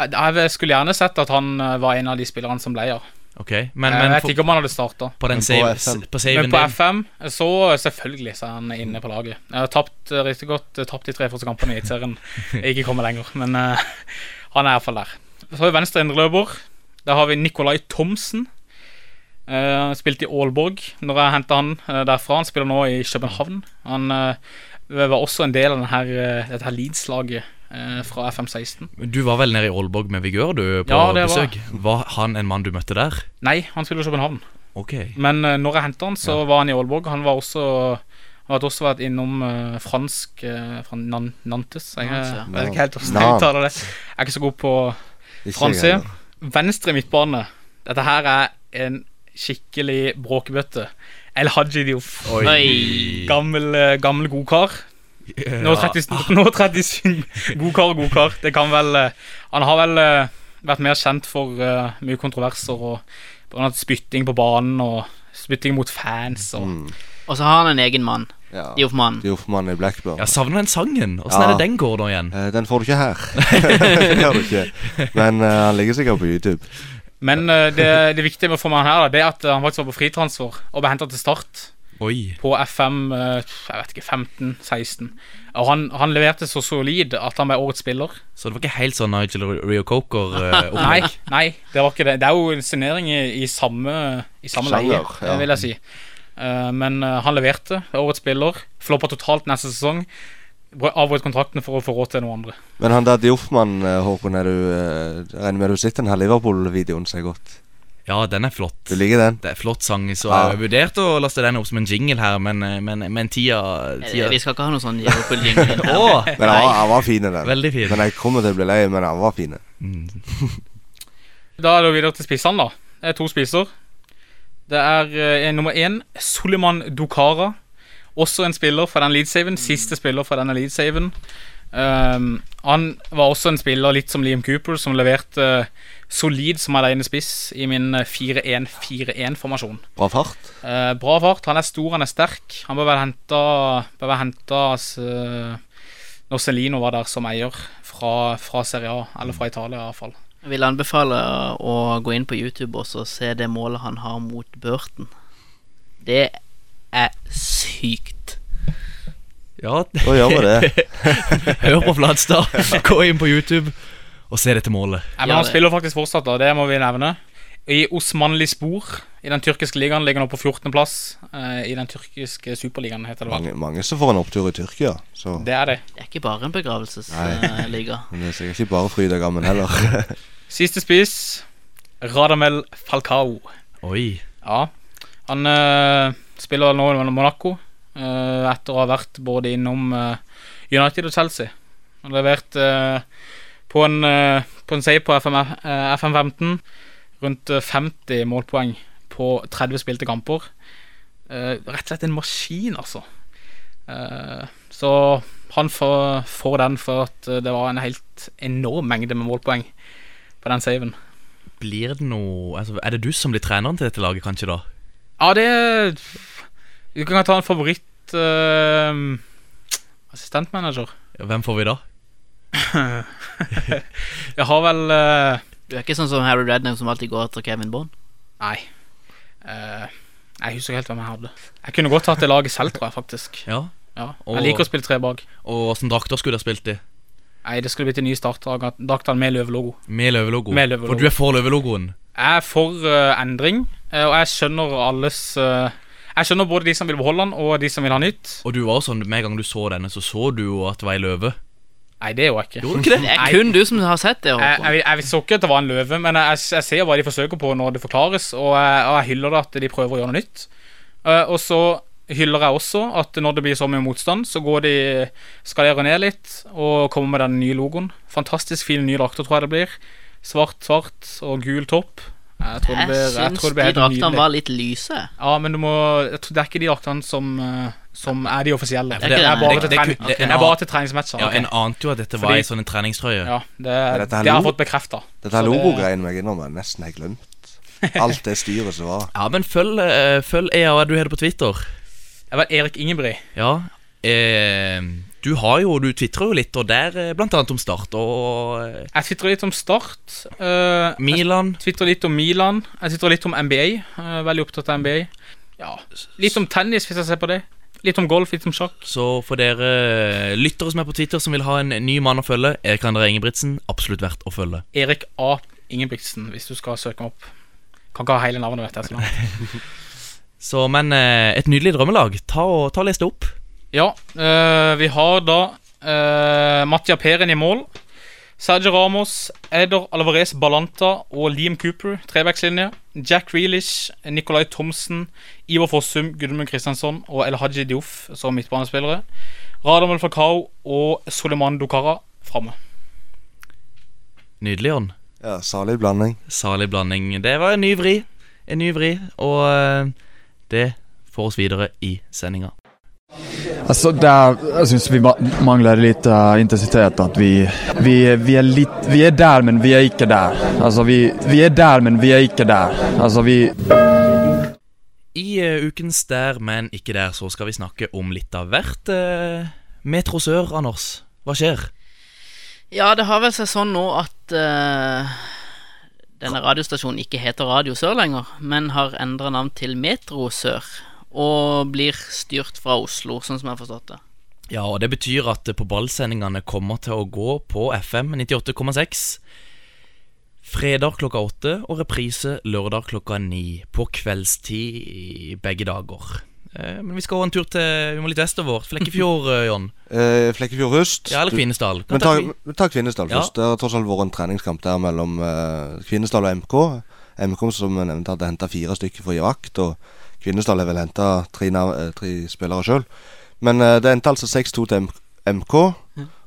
Speaker 5: Jeg, jeg skulle gjerne sett at han eh, var en av de spillerne som ble her.
Speaker 1: Ok, men,
Speaker 5: Eh, jeg
Speaker 1: men
Speaker 5: vet ikke om han hadde starta.
Speaker 1: På den Men på save- FM. s- på saven
Speaker 5: Men på
Speaker 1: din.
Speaker 5: FM, så selvfølgelig så er han inne på laget. Jeg har tapt eh, riktig godt eh, Tapt de tre første kampene i Eliteserien. Jeg er Ikke kommet lenger, men eh, han er iallfall der. Så har vi venstre indreløper. Der har vi Nikolai Thomsen. Uh, spilte i Aalborg når jeg henta han eh, derfra. Han spiller nå i København. Han eh, var også en del av den her, eh, dette her Leeds-laget eh, fra FM16.
Speaker 1: Du var vel nede i Aalborg med Vigør, du, på
Speaker 5: Ja, det var
Speaker 1: besøk? Var han en mann du møtte der?
Speaker 5: Nei, han spiller i København.
Speaker 1: Ok.
Speaker 5: Men eh, når jeg hentet han, så var han i Aalborg. Han var også han hadde også vært innom eh, fransk eh, fra Nan Nantes. Jeg, eh,
Speaker 12: Nantes, ja.
Speaker 5: jeg vet ikke helt hvordan jeg
Speaker 12: Nantes.
Speaker 5: uttaler det. Jeg er ikke så god på
Speaker 12: Ikke
Speaker 5: fransk.
Speaker 12: jeg
Speaker 5: Venstre midtbane. Dette her er en skikkelig bråkebøtte. El Haji Diouf.
Speaker 12: Oi. Oi.
Speaker 5: Gammel, eh, gammel godkar. Nå 30, nå 37 Godkar og godkar. Det kan vel eh, Han har vel eh, vært mer kjent for eh, mye kontroverser og blant annet spytting på banen og spytting mot fans og
Speaker 4: Og så har han en egen mann.
Speaker 3: Ja.
Speaker 4: Dioffmann.
Speaker 3: Dioffmann i Blackburn.
Speaker 1: Jeg savner den sangen. Åssen er det den går nå igjen?
Speaker 3: Eh, Den får du ikke her. den gjør du ikke. Men eh, han ligger sikkert på YouTube.
Speaker 5: Men eh, det, det viktige med å få med han her, da, det er at eh, han faktisk var på fritransfer og ble henta til Start.
Speaker 1: Oi.
Speaker 5: På FM eh, jeg vet ikke, 15-16. Og han, han leverte så solid at han ble årets spiller.
Speaker 1: Så det var ikke helt sånn Nigel Rio eh, Coker
Speaker 5: Nei, nei, det var ikke det. Det er jo en signering i, i samme, i samme leie,
Speaker 1: Sjanger, ja.
Speaker 5: vil jeg si. Eh, men eh, han leverte. Årets spiller. Floppa totalt neste sesong. Avbrøt kontrakten for å få råd til noen andre.
Speaker 3: Men han der Dioffmann, eh, Håkon, er du, eh, regner med du har sett den her Liverpool-videoen som er gått?
Speaker 1: Ja, den er flott.
Speaker 3: Du liker den?
Speaker 1: Det er flott sang, så
Speaker 3: Ja.
Speaker 1: jeg vurderte å laste den opp som en jingle her, men, eh, men, men tida,
Speaker 5: Eh,
Speaker 1: tida
Speaker 4: Vi skal ikke ha noe sånn jævla jingle her.
Speaker 1: Åh,
Speaker 3: Men han, var- han var fin, den.
Speaker 1: Veldig fin.
Speaker 3: Men jeg kommer til å bli lei, men han var fin.
Speaker 5: Da er det videre til spissene, da. Det er to spisser. Det er eh, nummer én Suleman Dukara. Også en spiller fra den leadsaven. Siste spiller fra denne leadsaven. Um, han var også en spiller litt som Liam Cooper, som leverte eh, solid som alene spiss i min eh, 4-1-4-1-formasjon.
Speaker 3: Bra fart.
Speaker 5: Eh, bra fart. Han er stor, han er sterk. Han bør være henta Bør være henta når Celino var der som eier, fra, fra Serie A, eller fra Italia i hvert fall
Speaker 4: Jeg vil anbefale å gå inn på YouTube og så se det målet han har mot Burton. Det er sykt.
Speaker 1: Ja,
Speaker 4: Da gjør vi det.
Speaker 1: Hør på Flatstad, gå inn på YouTube og se dette målet.
Speaker 5: Ja, men han spiller faktisk fortsatt, da. Det må vi nevne. I Osmanli Spor i den tyrkiske ligaen ligger han nå på 14.-plass. I den tyrkiske superligaen, heter det vel.
Speaker 3: Mange, mange som får en opptur i Tyrkia. Så
Speaker 5: Det er det.
Speaker 4: Det er ikke bare en
Speaker 3: Nei.
Speaker 4: begravelsesliga.
Speaker 3: Men det er sikkert ikke bare fryd og gammen heller.
Speaker 5: Siste spiss Radamel Falcao.
Speaker 1: Oi.
Speaker 5: Ja. Han eh, spiller nå i Monaco eh, etter å ha vært både innom eh, United og Chelsea. Han leverte eh, på, en, eh, på en seier på FM, eh, FM15 rundt eh, 50 målpoeng på 30 spilte kamper. Eh, rett og slett en maskin, altså. Eh, så han får, får den for at eh, det var en helt enorm mengde med målpoeng på den saven.
Speaker 1: Blir det noe altså, Er det du som blir treneren til dette laget, kanskje, da?
Speaker 5: Ja, det Du kan ta en favoritt eh, assistentmanager.
Speaker 1: Hvem får vi da?
Speaker 5: Jeg har vel eh,
Speaker 4: Du er ikke sånn som Harry Rednam som alltid går etter Kevin Bond?
Speaker 5: Nei. eh, jeg husker ikke helt hvem jeg hadde. Jeg kunne godt hatt det laget selv, tror jeg faktisk.
Speaker 1: Ja.
Speaker 5: Jeg liker å spille tre bak.
Speaker 1: Og åssen drakter skulle dere spilt i?
Speaker 5: Nei, det skulle blitt en ny startdrakt med løvelogo.
Speaker 1: Med løvelogo.
Speaker 5: Med løvelogo.
Speaker 1: For du er for løvelogoen?
Speaker 5: Jeg er for eh, endring, eh, og jeg skjønner alles eh, Jeg skjønner både de som vil beholde den, og de som vil ha nytt.
Speaker 1: Og du var jo sånn, Med en gang du så denne, så så du jo at det var ei løve.
Speaker 5: Nei, det er jo jeg ikke.
Speaker 1: Gjorde du ikke det?
Speaker 4: Det er kun du som har sett det.
Speaker 5: Jeg,
Speaker 4: Håkon.
Speaker 5: jeg, jeg så ikke at det var en løve, men jeg, jeg ser hva de forsøker på når det forklares, og jeg, og jeg hyller det at de prøver å gjøre noe nytt. Eh, og så hyller jeg også at når det blir så mye motstand, så går de skalerer ned litt og kommer med den nye logoen. Fantastisk fine nye drakter, tror jeg det blir. Svart, svart og gul topp. Jeg tror det blir,
Speaker 4: Jeg
Speaker 5: jeg
Speaker 4: syns
Speaker 5: tror det blir
Speaker 4: de
Speaker 5: helt
Speaker 4: draktene
Speaker 5: nydelig.
Speaker 4: var litt lyse.
Speaker 5: Ja, men du må jeg tror Det er ikke de draktene som, eh, som er de offisielle.
Speaker 1: for
Speaker 5: Det er bare til
Speaker 1: det-
Speaker 5: trening-
Speaker 1: det-
Speaker 5: det
Speaker 1: en
Speaker 5: er bare
Speaker 1: annen-
Speaker 5: til treningsmatcher.
Speaker 1: Ja,
Speaker 5: ok.
Speaker 1: En ante jo at dette var
Speaker 5: Fordi-
Speaker 1: ei sånn en treningstrøye.
Speaker 5: Ja, det,
Speaker 3: Men
Speaker 5: det
Speaker 3: dette her
Speaker 5: har jeg
Speaker 3: lo-
Speaker 5: fått bekrefta.
Speaker 3: Dette her logogreiene må jeg innrømme jeg nesten har glemt. Alt det styret som var.
Speaker 1: Ja, men følg, eh, følg EA, du heter på Twitter.
Speaker 5: Jeg var Erik Ingebrigt.
Speaker 1: Ja. Eh, du har jo, du tvitrer jo litt, og der eh, blant annet om Start og eh,
Speaker 5: Jeg twitterer litt om Start. eh,
Speaker 1: Milan.
Speaker 5: Jeg twitterer litt om Milan. Jeg twitterer litt om NBA. eh, veldig opptatt av NBA. Ja, Litt om tennis, hvis jeg ser på det. Litt om golf, litt om sjakk.
Speaker 1: Så for dere eh, lyttere som er på Twitter som vil ha en ny mann å følge, Erik André Ingebrigtsen, absolutt verdt å følge.
Speaker 5: Erik A. Ingebrigtsen, hvis du skal søke meg opp. Kan ikke ha hele navnet, vet jeg. så langt.
Speaker 1: Så, men eh, et nydelig drømmelag. Ta og, ta og les det opp.
Speaker 5: Ja, eh, vi har da uh, Mattia Peren i mål. Sergio Ramos, Eder Alvarez Balanta og Liam Cooper, trebackslinje. Jack Reelish, Nicolai Thomsen, Ivar Fossum, Gudmund Kristiansson og El Haji Diouf som midtbanespillere. Radamel Fakao og Soleman Dokara framme.
Speaker 1: Nydelig, Jørn.
Speaker 3: Ja, Salig blanding.
Speaker 1: Salig blanding. Det var en ny vri. En ny vri, og eh, det får oss videre i sendinga.
Speaker 12: Alltså där, jag syns vi ma- manglar lite eh, intensitet. Att vi, vi, vi, är lit, vi är där men vi är inte där. Alltså Altså, vi, vi är där men vi är inte där. Alltså Altså, vi...
Speaker 1: I eh, ukens Der, men ikke der, så skal vi snakke om litt av hvert. eh, Metro Sør, Anders. Hva skjer?
Speaker 4: Ja, det har vel seg sånn nå at eh, denne radiostasjonen ikke heter Radio Sør lenger, men har endra navn til Metro Sør, og blir styrt fra Oslo, sånn som jeg har forstått det.
Speaker 1: Ja, og det betyr at eh, på ballsendingene kommer til å gå på FM 98,6 fredag klokka åtte og reprise lørdag klokka ni på kveldstid i begge dager. Eh, Men vi skal ha en tur til Vi må litt vestover. Flekkefjord, eh, John.
Speaker 3: Eh, Flekkefjord Rust.
Speaker 1: Ja, eller Kvinesdal. Kan
Speaker 3: Men
Speaker 1: ta
Speaker 3: ta,
Speaker 1: Kvi-
Speaker 3: men ta Kvinesdal
Speaker 1: Ja.
Speaker 3: først. Det har tross alt vært en treningskamp der mellom eh, Kvinesdal og MK. MK, som jeg nevnte, hadde henta fire stykker fra Irak. Og Kvinesdal har vel henta tre, nav- eh, tre spillere sjøl. Men eh, det endte altså 6-2 til M- MK.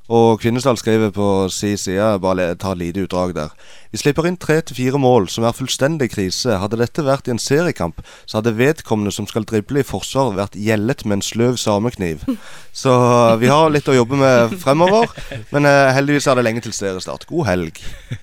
Speaker 3: Og Kvinesdal skriver på si side, bare le- ta et lite utdrag der. Vi slipper inn tre til fire mål, som er fullstendig krise. Hadde dette vært i en seriekamp, så hadde vedkommende som skal drible i forsvar, vært gjellet med en sløv samekniv. Så vi har litt å jobbe med fremover. Men eh, heldigvis er det lenge til seriestart. God helg,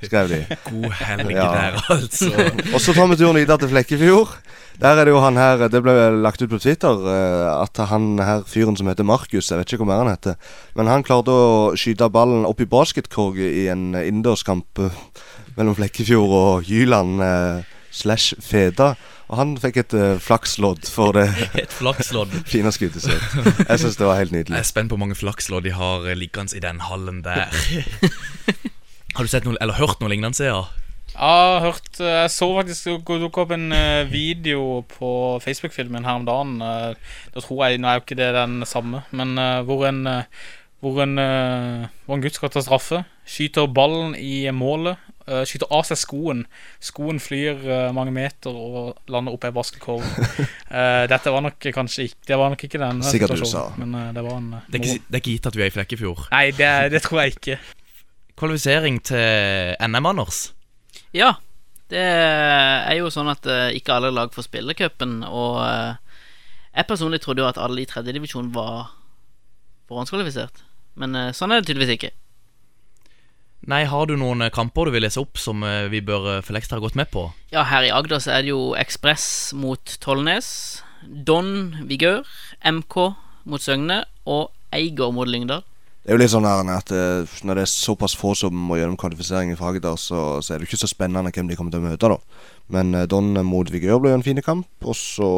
Speaker 3: skrev de.
Speaker 1: God helg der, altså.
Speaker 3: Og så tar vi turen videre til Flekkefjord. Der er det jo han her Det ble lagt ut på Twitter eh, at han her fyren som heter Markus, jeg vet ikke hvor mer han heter, men han klarte å skyte ballen opp i basketkorget i en innendørskamp eh, mellom Flekkefjord og Jyland eh, slash Feda. Og han fikk et eh, flakslodd for det
Speaker 1: Et flakslodd.
Speaker 3: fine skuddet sitt. Jeg syns det var helt nydelig.
Speaker 1: Jeg er spent på hvor mange flakslodd de har eh, liggende i den hallen der. Har du sett noe, eller hørt noe lignende, Sea?
Speaker 5: Jeg har hørt eh, Jeg så faktisk det dukket opp en eh, video på Facebook-filmen her om dagen. eh, Da tror jeg Nå er jo ikke det den samme, men eh, hvor en eh, hvor en, eh, hvor en gutt skal ta straffe, skyter ballen i målet, eh, skyter av seg skoen. Skoen flyr eh, mange meter og lander oppe i basketkorv. Eh, Dette var nok kanskje ikke Det var nok ikke den eh,
Speaker 1: Sikkert
Speaker 5: situasjonen,
Speaker 1: USA.
Speaker 5: Men eh, det var en eh,
Speaker 1: Det er,
Speaker 5: moro.
Speaker 1: ikke, det er ikke gitt at vi er i Flekkefjord.
Speaker 5: Nei, det, det tror jeg ikke.
Speaker 1: Kvalifisering til NM, Anders.
Speaker 4: Ja, det er jo sånn at eh, ikke alle lag får spille cupen, og eh, jeg personlig trodde jo at alle i tredjedivisjon var forhåndskvalifisert, men eh, sånn er det tydeligvis ikke.
Speaker 1: Nei, har du noen eh, kamper du vil lese opp som eh, vi bør eh, følge ekstra godt med på?
Speaker 4: Ja, her i Agder så er det jo Ekspress mot Tollnes, Don Vigør, MK mot Søgne og Eiger mot Lyngdal.
Speaker 3: Det er jo litt sånn her at eh, når det er såpass få som må gjennom kvalifiseringen fra Agder, så, så er det jo ikke så spennende hvem de kommer til å møte, da. Men eh, Don mot Vigør ble jo en fin kamp, og så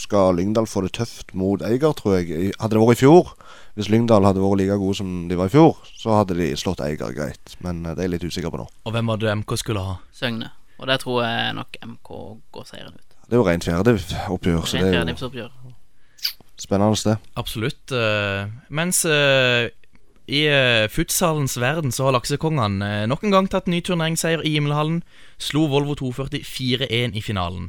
Speaker 3: skal Lyngdal få det tøft mot Eiger, tror jeg. I- Hadde det vært i fjor, hvis Lyngdal hadde vært like gode som de var i fjor, så hadde de slått Eiger greit, men eh, det er jeg litt usikker på nå.
Speaker 1: Og hvem var det MK skulle ha?
Speaker 4: Søgne. Og der tror jeg nok MK går seieren ut.
Speaker 3: Det er jo rent fjerde oppgjør, så det er jo
Speaker 4: Fjerdedivisjonsoppgjør.
Speaker 3: spennende det.
Speaker 1: Absolutt. eh, mens eh, i eh, futsalens verden så har laksekongene eh, nok en gang tatt ny turneringsseier i Himmelhallen. Slo Volvo 240 4-1 i finalen.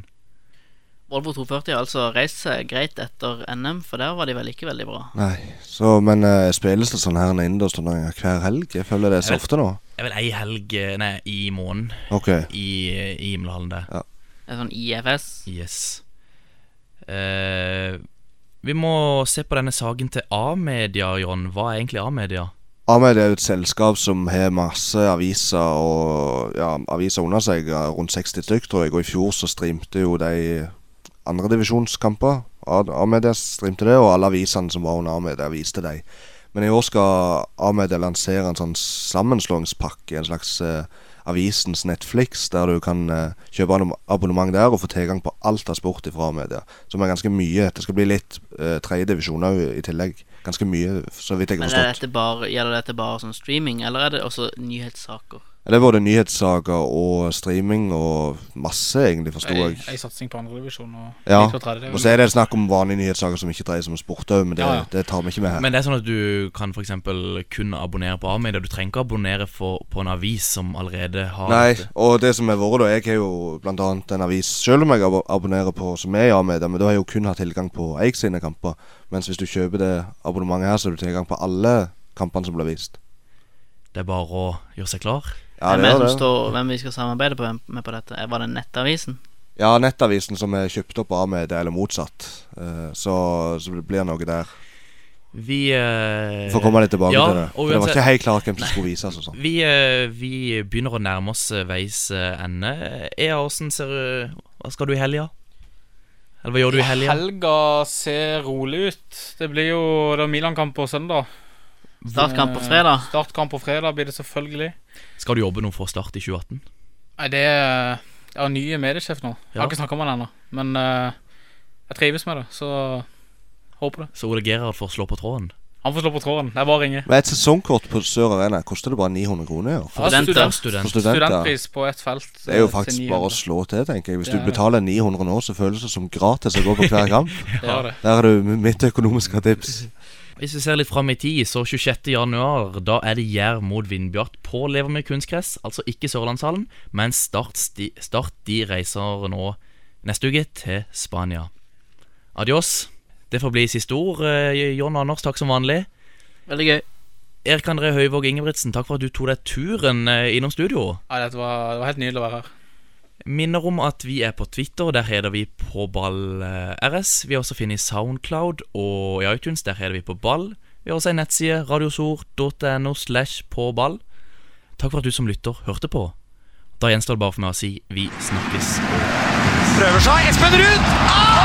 Speaker 4: Volvo 240 har altså reist seg greit etter NM, for der var de vel ikke veldig bra.
Speaker 3: Nei, så, men eh, spilles det sånn her innendørsturneringer hver helg? Jeg føler det er så
Speaker 1: Jeg vet-
Speaker 3: ofte nå.
Speaker 1: Jeg vil ei helg eh, Nei, i måneden
Speaker 3: Ok.
Speaker 1: i, eh, i Himmelhallen der.
Speaker 4: Det er sånn IFS.
Speaker 1: Yes. Eh, vi må se på denne saken til A-media, Jon. Hva er egentlig A-media?
Speaker 3: Amed er jo et selskap som har masse aviser og ja, aviser under seg, ja, rundt 60 stykk, tror jeg. Og i fjor så streamte jo de andredivisjonskamper. Amedia streamte det, og alle avisene som var under Amedia, viste de. Men i år skal Amedia lansere en sånn sammenslåingspakke, en slags eh, avisens Netflix, der du kan eh, kjøpe abonn- abonnement der og få tilgang på alt av sport fra Amedia. Som er ganske mye. Det skal bli litt uh, tredjedivisjon òg i tillegg. Ganske mye, så vidt jeg har
Speaker 4: Men
Speaker 3: forstått.
Speaker 4: er dette bare, gjelder dette bare sånn streaming, eller er det også nyhetssaker?
Speaker 3: Ja, Det er både nyhetssaker og streaming og masse, egentlig, forsto
Speaker 5: Ei-
Speaker 3: jeg.
Speaker 5: ei satsing på andredivisjon og
Speaker 3: Ja.
Speaker 5: litt på tredje.
Speaker 3: Og så er det snakk om vanlige nyhetssaker som ikke dreier seg om sport òg, men det,
Speaker 5: Ja, ja.
Speaker 3: det tar vi ikke med her.
Speaker 1: Men det er sånn at du kan for eksempel kun abonnere på A-media. Du trenger ikke abonnere for, på en avis som allerede har
Speaker 3: Nei,
Speaker 1: dette.
Speaker 3: og det som har vært, da Jeg har jo blant annet en avis selv om jeg abo- abonnerer på som er i A-media, men da har jeg jo kun hatt tilgang på Eik sine kamper. Mens hvis du kjøper det abonnementet her, så har du tilgang på alle kampene som blir vist.
Speaker 1: Det er bare å gjøre seg klar.
Speaker 3: Ja,
Speaker 4: hvem,
Speaker 3: det
Speaker 4: er
Speaker 3: er
Speaker 4: det
Speaker 3: det.
Speaker 4: som står, hvem vi skal samarbeide på, med på dette? Var det Nettavisen?
Speaker 3: Ja, Nettavisen som er kjøpt opp av A-media, eller motsatt. Eh, Så, så det blir noe der.
Speaker 1: Vi eh,
Speaker 3: Får komme litt tilbake
Speaker 1: ja,
Speaker 3: til det.
Speaker 1: og
Speaker 3: For det var
Speaker 1: uansett-
Speaker 3: ikke helt klart hvem som
Speaker 1: Nei.
Speaker 3: skulle vises og sånn.
Speaker 1: Vi, eh, vi begynner å nærme oss eh, veis eh, ende. Ea, åssen ser du Hva skal du i helga? Eller hva gjør du i helga?
Speaker 5: Helga ser rolig ut. Det blir jo det er Milan-kamp på søndag.
Speaker 1: Startkamp på
Speaker 5: Eh,
Speaker 1: fredag.
Speaker 5: Startkamp på fredag blir det selvfølgelig.
Speaker 1: Skal du jobbe noe for Start i 2018?
Speaker 5: Nei, det er Jeg har nye mediesjef nå. Jeg
Speaker 1: Ja.
Speaker 5: har ikke snakka med han ennå, men eh, jeg trives med det, så håper det.
Speaker 1: Så Ole Gerhard får slå på tråden?
Speaker 5: Han får slå på tråden. Det er bare å ringe.
Speaker 3: Men et sesongkort på Sør Arena koster det bare 900 kroner. Ja.
Speaker 5: Ja, student-
Speaker 3: For studenter.
Speaker 5: Studentpris på ett felt.
Speaker 3: Det er jo
Speaker 5: eh,
Speaker 3: faktisk
Speaker 5: til 900.
Speaker 3: bare å slå til, tenker jeg. Hvis
Speaker 5: Det
Speaker 3: du
Speaker 5: er det.
Speaker 3: betaler 900 nå, så føles det som gratis å gå på hver kamp.
Speaker 5: Det er det.
Speaker 3: Der er du mitt økonomiske tips.
Speaker 1: Hvis vi ser litt fram i tid, så 26. januar, da er det Jær mot Vindbjart på Levermøy kunstgress. Altså ikke Sørlandshallen, men Start, sti, start de reiser nå neste uke til Spania. Adios. Det får bli siste ord. Eh, John Anders, takk som vanlig.
Speaker 4: Veldig gøy.
Speaker 1: Erik André Høyvåg Ingebrigtsen, takk for at du tok deg turen eh, innom studio.
Speaker 5: Ja, dette var, det var helt nydelig å være her.
Speaker 1: Minner om at vi er på Twitter, der heter vi på ball eh, RS. Vi har også funnet i Soundcloud og i iTunes, der heter vi på ball. Vi har også en nettside, radiosor.no slash på ball. Takk for at du som lytter hørte på. Da gjenstår det bare for meg å si vi snakkes.
Speaker 2: Prøver seg. Espen Ruud! Ah!